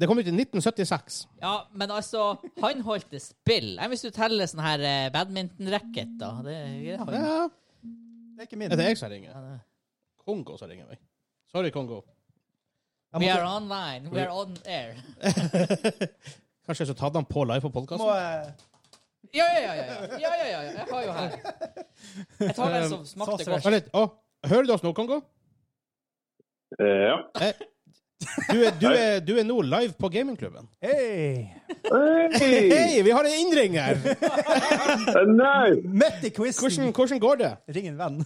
Det kom ut i 1976. Ja, men altså, håndholdte spill Enn hvis du teller sånn her eh, badminton-racket, da. Det, det har jo- Ja. Det er ikke min. Er det jeg som ringer? Ja, det- Kongo som ringer meg. Sorry, Kongo. Jeg We måtte- are online. We are on air. Kanskje jeg skulle tatt han på live på må, podkasten? eh, Ja, ja, ja. ja, ja, ja, ja, ja. Jeg har jo her. Jeg tar den Eh, som smakte Sausage. godt. Vent litt. Å, hører du oss nå, Kongo? Eh, ja. Eh, du, er, du, er, du er nå live på gamingklubben. Hei! Hey! Hei, vi har en innringer! Nei. Midt i quizen! Hvordan, hvordan går det? Ring en venn.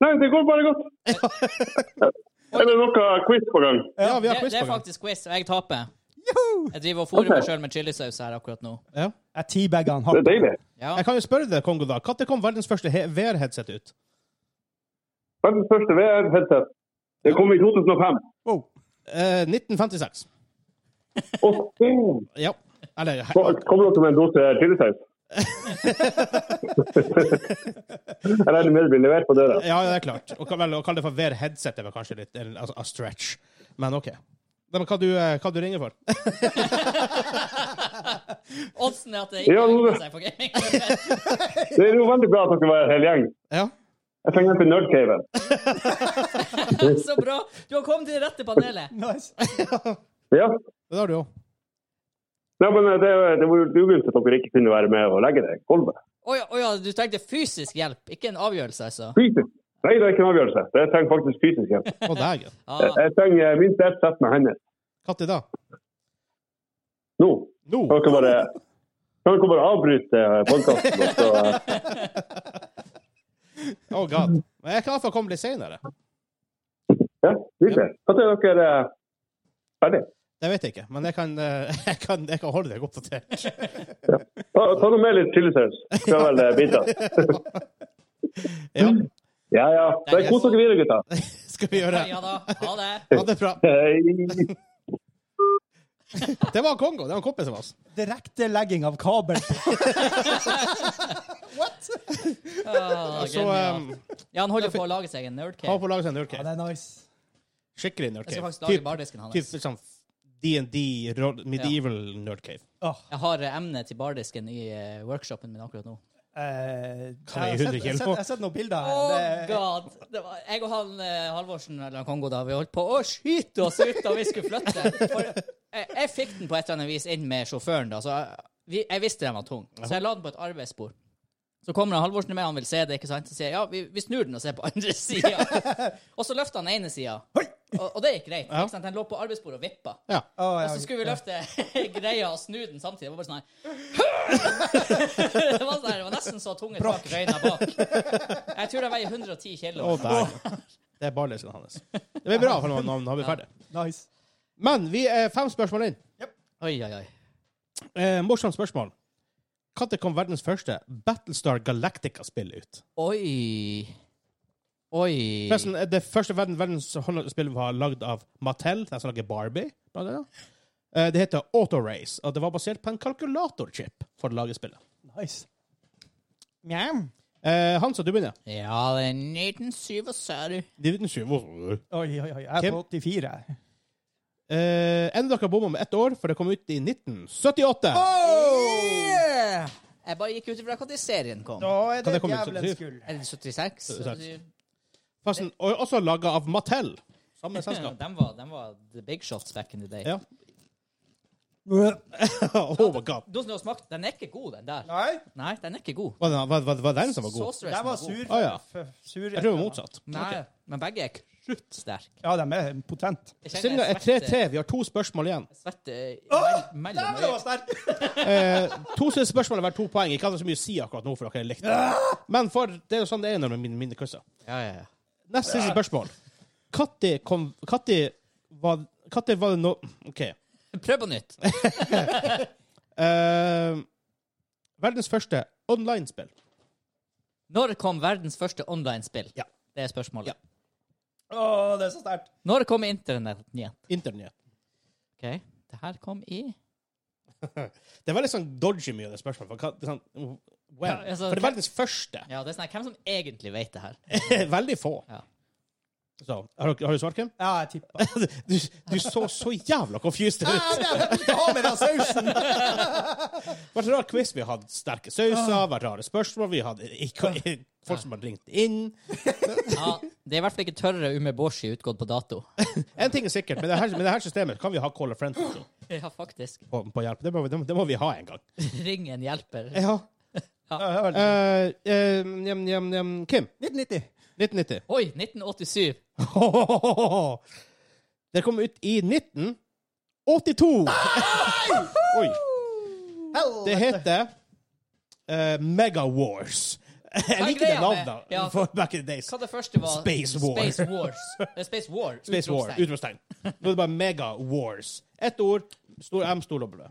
Nei, det går bare godt. Er det noe quiz på gang? Ja, vi Det, har quiz på det er gang. faktisk quiz, og jeg taper. Joho! Jeg driver og fôrer meg Ok. sjøl med chilisaus her akkurat nå. Ja. Jeg teabagger han Det er hardt. deilig. Ja. Jeg kan jo spørre deg, Kongo, da. Når kom verdens første he- VR-headset ut? Verdens første VR-headset. Det kom i 2005. Wow. Eh, 1956. Og se, Ja. Eller he- så kom dere med en dose chilisaus. Jeg regner med det blir levert på døra. Ja, det er klart. Å ka- vel, å kalle det for VR-headset er vel kanskje litt en- altså, a stretch. Men OK. Nei, Men hva du, eh, hva du ringer for? Oddsen er at det ikke Ja, nå- lønner seg på gaming. Det er jo veldig bra at dere var en hel gjeng. Ja. Jeg trenger en til nerdcaven. Så bra. Du har kommet til det rette panelet. Nice. Ja. Det har du jo. Nei, men eh, det, det var jo ugult at dere ikke kunne være med og legge det i gulvet. Å ja, å ja, du trengte fysisk hjelp, ikke en avgjørelse, altså. Fysisk. Nei, det er ikke en avgjørelse. Det trenger faktisk fysisk hjelp. Å, dægen. Ja. Jeg trenger eh, minst ett sett med hender. Når da? Nå. Nå? Kan dere bare, kan dere bare avbryte podkasten? Så... eh, Oh god. Men jeg kan iallfall komme litt seinere. Ja, virkelig. Når er dere eh, ferdig? Det vet jeg ikke, men jeg kan, eh, jeg kan, jeg kan holde deg oppdatert. Ta, ta nå med litt chilisaus. Skal vel eh, bite. Ja, Ja, ja. Det er Kos dere videre, gutta. skal vi gjøre. Ja da. Ha det. Ha det bra. Hei. Det var Kongo. Det var en kompis av oss. Direktelegging av kabel. Ah, Så genialt. um, Ja, han holder på å lage seg en nerdcave. ha på laget seg en Ja, nerdcave. det er nice. Skikkelig Jeg skal nerdcave. faktisk lage Typ- bardisken hans. Typ liksom D&D, ro- medieval nerdcave. Åh, Jeg har eh, emne til bardisken i eh, workshopen min akkurat nå. eh, Kan jeg jeg har gi sett- 100 jeg har kilo? sett- Jeg har sett noen bilder Oh her. Det, god! Det var, jeg og han eh, Halvorsen eller han Kongo da, vi holdt på å skyte oss ut da vi skulle flytte. For jeg, jeg fikk den på et eller annet vis inn med sjåføren, da, så jeg, vi, jeg visste den var tung. Så jeg la den på et arbeidsbord. Så kommer han Halvorsen med, han vil se det, ikke sant? Så sier jeg ja, vi, vi snur den og ser på andre sida. Og så løfter han ene sida, og, og det gikk greit. Ja. Ikke sant? Den lå på arbeidsbordet og vippa. Ja. Åh, ja, Og så skulle vi ja. løfte greia og snu den samtidig. Det var bare sånn her det var, sånn her, det var nesten Hansen så tunge tak røyna bak. Jeg tror jeg veier 110 kilo. Å, der. Det er barlesen hans. Det blir bra for noen navn. Da er vi ferdig. Nice. Men vi er fem spørsmål inn. Oi, oi, oi. Eh, morsomt spørsmål. Når kom verdens første Battlestar Galactica-spill ut? Oi. Oi. Forresten, eh, det første verden, verdens håndholdspill var lagd av Mattel, de som lager Barbie. blant annet. Eh, Det heter Autorace, og det var basert på en kalkulatorchip for å lage spillet. nice. Eh, Hansa, du begynner. Ja, det er 1977. De vet ikke hvor- Oi, oi, oi. Jeg er på 84. Eh, Enda dere bomma med ett år, for det kom ut i 1978. Yeah. Jeg bare gikk ut ifra når serien kom. Da er Kan det det komme ut djevelens samtidig? gull. Er det 76? 76. Forresten, og også laga av Mattel. Samme selskap. De var, de var the big shots back in the day. Ja. oh my god. Du som har smakt, Den er ikke god, den der. Nei, Nei, den er ikke god. Var det, var, var, var det den som var god? Sauce dressing jeg var god. sur. Å, ja. f- sur Jeg tror det var motsatt. Nei, men begge er kruttsterke. Ja, de er potent. Jeg kjenner Stillinga jeg er 3-3. Vi har to spørsmål igjen. Svette, Åh, svette mellom øynene. sterk! Eh, to siste spørsmål er verdt to poeng. Ikke hadde så mye å si akkurat nå, for dere er likt. Ah! Men for, det er jo sånn det er når man vinner quizer. Ja, ja, ja. Neste siste spørsmål. Katti kom Katti var Katti var det no... OK. Prøv på nytt. Eh, verdens første online-spill. Når kom verdens første online-spill? Ja. Det er spørsmålet. Ja. Å, det er så sterkt. Når kom internett igjen? Internett. Ok, Det her kom i Det er veldig sånn dodgy mye av det spørsmålet. For, hva- det er sånn, when? Ja, altså, for det er verdens første. Ja, det er sånn her, Hvem som egentlig vet det her? Veldig få. Ja. Så, har, dere- har du svart, Kim? Ja, jeg tippa. Du, du så så jævla confused ut. Ta med deg sausen! vært rar quiz. Vi har hatt sterke Ah. sauser, vært rare spørsmål, vi har hatt ikke- folk som har ringt inn. Ja, Det er i hvert fall ikke tørre umeboshi utgått på dato. En ting er sikkert, med det her, med det her systemet kan vi ha call a friend function Ja, faktisk. på, på hjelp. Det må, vi- det, må- det må vi ha en gang. Ring en hjelper. Ja. Ja. Eh, eh, njem, njem, njem. Kim, 1990. 1990. Oi, 1987. Det kom ut i 1982. Oi. Det heter eh, Mega Wars. Jeg Hva liker det greia med- navnet Ja. for back in the days. Hva det første var? Space War. Space Wars. Eh, Space War. Space War. Utropstegn. utropstegn. Nå er det bare Mega Wars. Ett ord, stor M, stor W.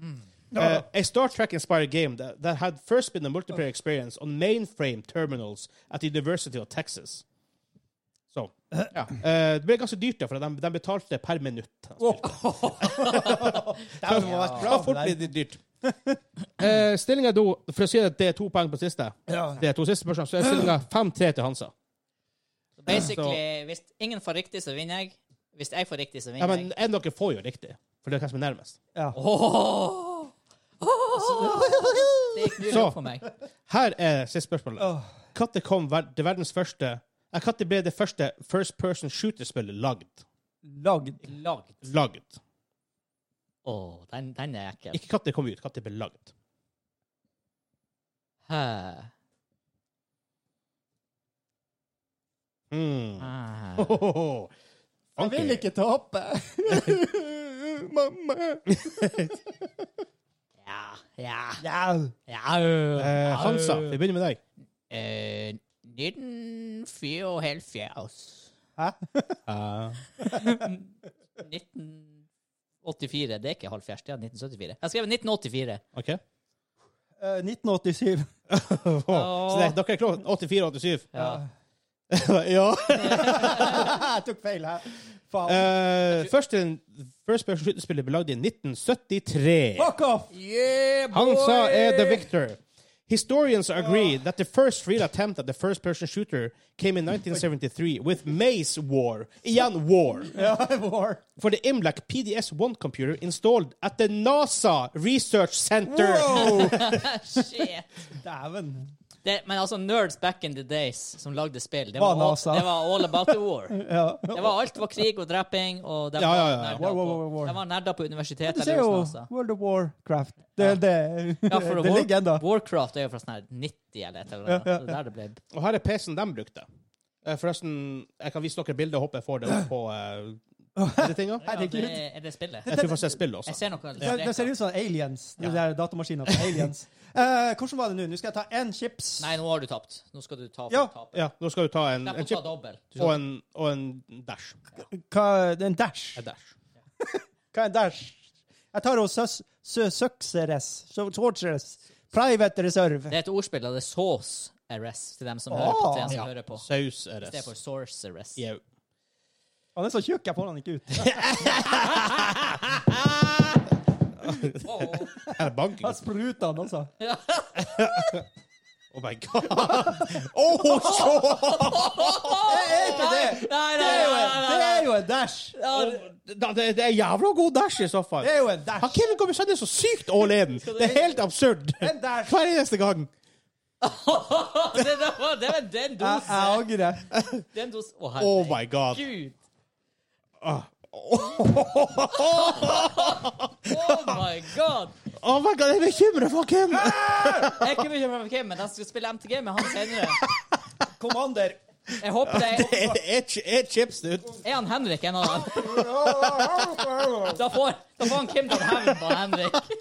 Uh, a Star Trek-inspired game that, that had first been a multiplayer experience on mainframe terminals at the University of Texas. Så. ja. Eh, det ble ganske dyrt, da, for de, de betalte per minutt. Det må ha vært Det var bra fort for deg. litt dyrt. Uh, Stillinga da, for å si at det er to poeng på siste, Ja. det er to siste spørsmål, så er stillinga 5-3 til Hansa. Basically, hvis ingen får riktig, så vinner jeg. Hvis jeg får riktig, Ja, så vinner jeg. men en av dere får jo riktig, for det er hvem som er nærmest. Ja. Åh! Åh! Det gikk mye Så. opp for meg. Her er siste spørsmålet. Åh. Når kom ver det verdens første eh, Når ble det første first person shooter-spillet lagd? Lagd. Lagd. Lagd. Åh, den, den er ekkel. Ikke når det kom ut, når det ble lagd. Hæ. Mm. Ah. Hohoho. Jeg vil Funky. ikke tape. Mamma. Ja, ja, Ja. ja. øh, Eh, Hansa, vi begynner med deg. Eh, 1974. Hæ? 1984. Det er ikke halv fjerde, det er 1974. Jeg skrev 1984. OK? Eh, 1987. Så det, dere er klare? 84-87? Ja. ja. jeg tok feil her. Faen. Eh, første first person shooter-spillet ble lagd i 1973. Fuck off! Yeah, boy! Hansa er the victor. Historians agree that the first real attempt at the first-person shooter came in 1973 with Maze War, igjen War, Ja, war. for the Imlac PDS-1 computer installed at the NASA Research Center. Shit. Dæven. Det, men altså, nerds back in the days som lagde spill, det Var var, NASA. all, det var all about the war. Ja. Det var alt var krig og dreping, og de Ja, ja, ja. var nerder War, war, war, på- war. de var nerder på universitetet. Du ser eller jo hos NASA. World of Warcraft. Det, det, altså. Ja, for det War, ligger ennå. Warcraft er jo fra sånn her 90 eller et eller annet. Ja, ja, Så det er der det ble Og her er PC-en de brukte. Eh, Forresten, jeg kan vise dere bildet og håper jeg får det opp på eh, disse tinga. Ja, det Herregud. er, er det spillet? Jeg tror faktisk jeg spiller Jeg også. ser noe Det, det ser streker. ut som aliens. De der datamaskinene fra aliens. Eh, hvordan var det nå? Nå skal jeg ta én chips. Nei, nå har du tapt. Nå skal du ta for Ja. tapet. Ja, nå skal du ta en, Slipp å en ta chip dobbel. Du og skal- en, og en dash. Hva, det er en dash. En dash. Hva er en dash? Jeg tar hos søs, sø, Success. So- Sorceress. Private Reserve. Det er et ordspill, og det er sauce arrest til dem som Åh. hører på. Til dem som Ja. hører på. Saus er I stedet for det. source arrest. Jau. Han er så tjukk, jeg får han ikke ut. Åh, åh. Her er banking. Han spruter han, altså. Oh my god! Oh, så- Det er ikke det! Nei, Det nei, er jo nei, en, nei, det nei. er jo en dash! Ja, det- Da- det, det er jævla god dash, i så fall. Det er jo en Han dash! Kevin kommer seg ned så sykt all in. Det er helt absurd. En dash! Hver eneste gang. det, det var, det var den Jeg, dosen. jeg angrer. Den dosen. Å, Oh my god. herregud. Ah. Oh Oh my god. my god, jeg er bekymret for Kim! Jeg er ikke bekymret for Kim, men jeg skal spille MTG med han senere. Commander. Jeg håper det er, Er, er, er chips det ut? er han Henrik en av dem. Da får, da får han Kim til å hevne på Henrik.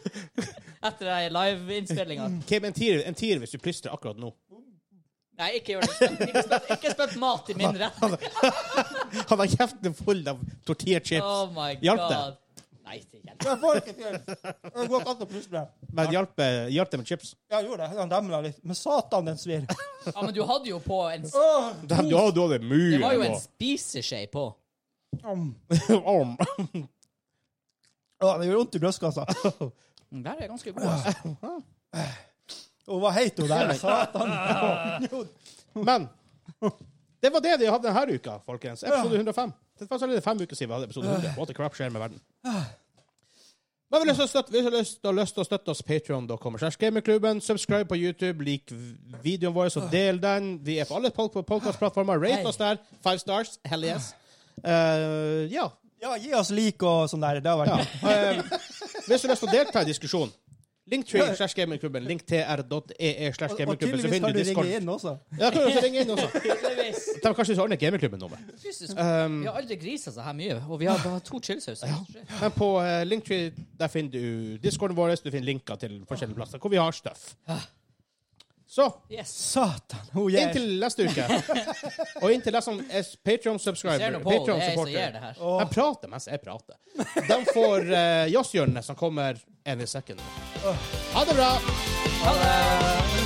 Etter den live-innspillinga. Kim, en tier, en tier hvis du plystrer akkurat nå. Nei, ikke gjør det. Ikke spøtt, ikke spøtt mat i min rett. Han har kjeften full av Oh tortillachips. my Hjalp det? god. Nei, det hjelper. Det får ikke til. Det går ikke an å plusse med. Men hjalp det- hjalp det med chips? Ja, gjorde det. Han demla litt. Men satan, den svir. Ja, men du hadde jo på en s- Åh, Dem- Ja, du hadde mye. Det var jo nå. en spiseskje på. om. Om. Åh, det gjør vondt i altså. brystkassa. Den der er ganske god, Ah. altså. Hun var heit, hun der. liksom. Satan. Jo, Men det var det de hadde denne uka, folkens. Episode 105. Det var allerede fem uker siden vi hadde episode 100. What the crap skjer med verden? Men vi har lyst til å støtte, vi har lyst til å, lyst til å støtte oss patreon.com. Slash gamingklubben. Subscribe på YouTube. Lik videoen vår, så del den. Vi er på alle podkastplattformer. Rate oss der. Five stars. Hell yes. Eh, ja. Ja, gi oss lik og sånn der. Det har ja. vært Eh, hvis du har lyst til å delta i diskusjonen Linktree slash gamingklubben. Linktr.ee E slash Og gamingklubben. Så tydeligvis kan finner du du ringe Discord. inn også. Ja, kan du også ringe inn også. Tydeligvis. De kanskje ikke ordner gamingklubben-nummer. Jesus, vi har aldri grisa så her mye, og vi har bare to chillsauser. Men på eh, Linktree der finner du discorden vår, du finner linker til forskjellige plasser hvor vi har stuff. Så Yes. Satan. Hun gir. inntil neste uke, og inntil deg som er Ser Patrion-subscriber, nå på det er jeg som gjør Patrion-supporter det her. Jeg prater mens jeg prater. De får uh, jazzhjørnet som kommer any second. Ha det bra! Ha det!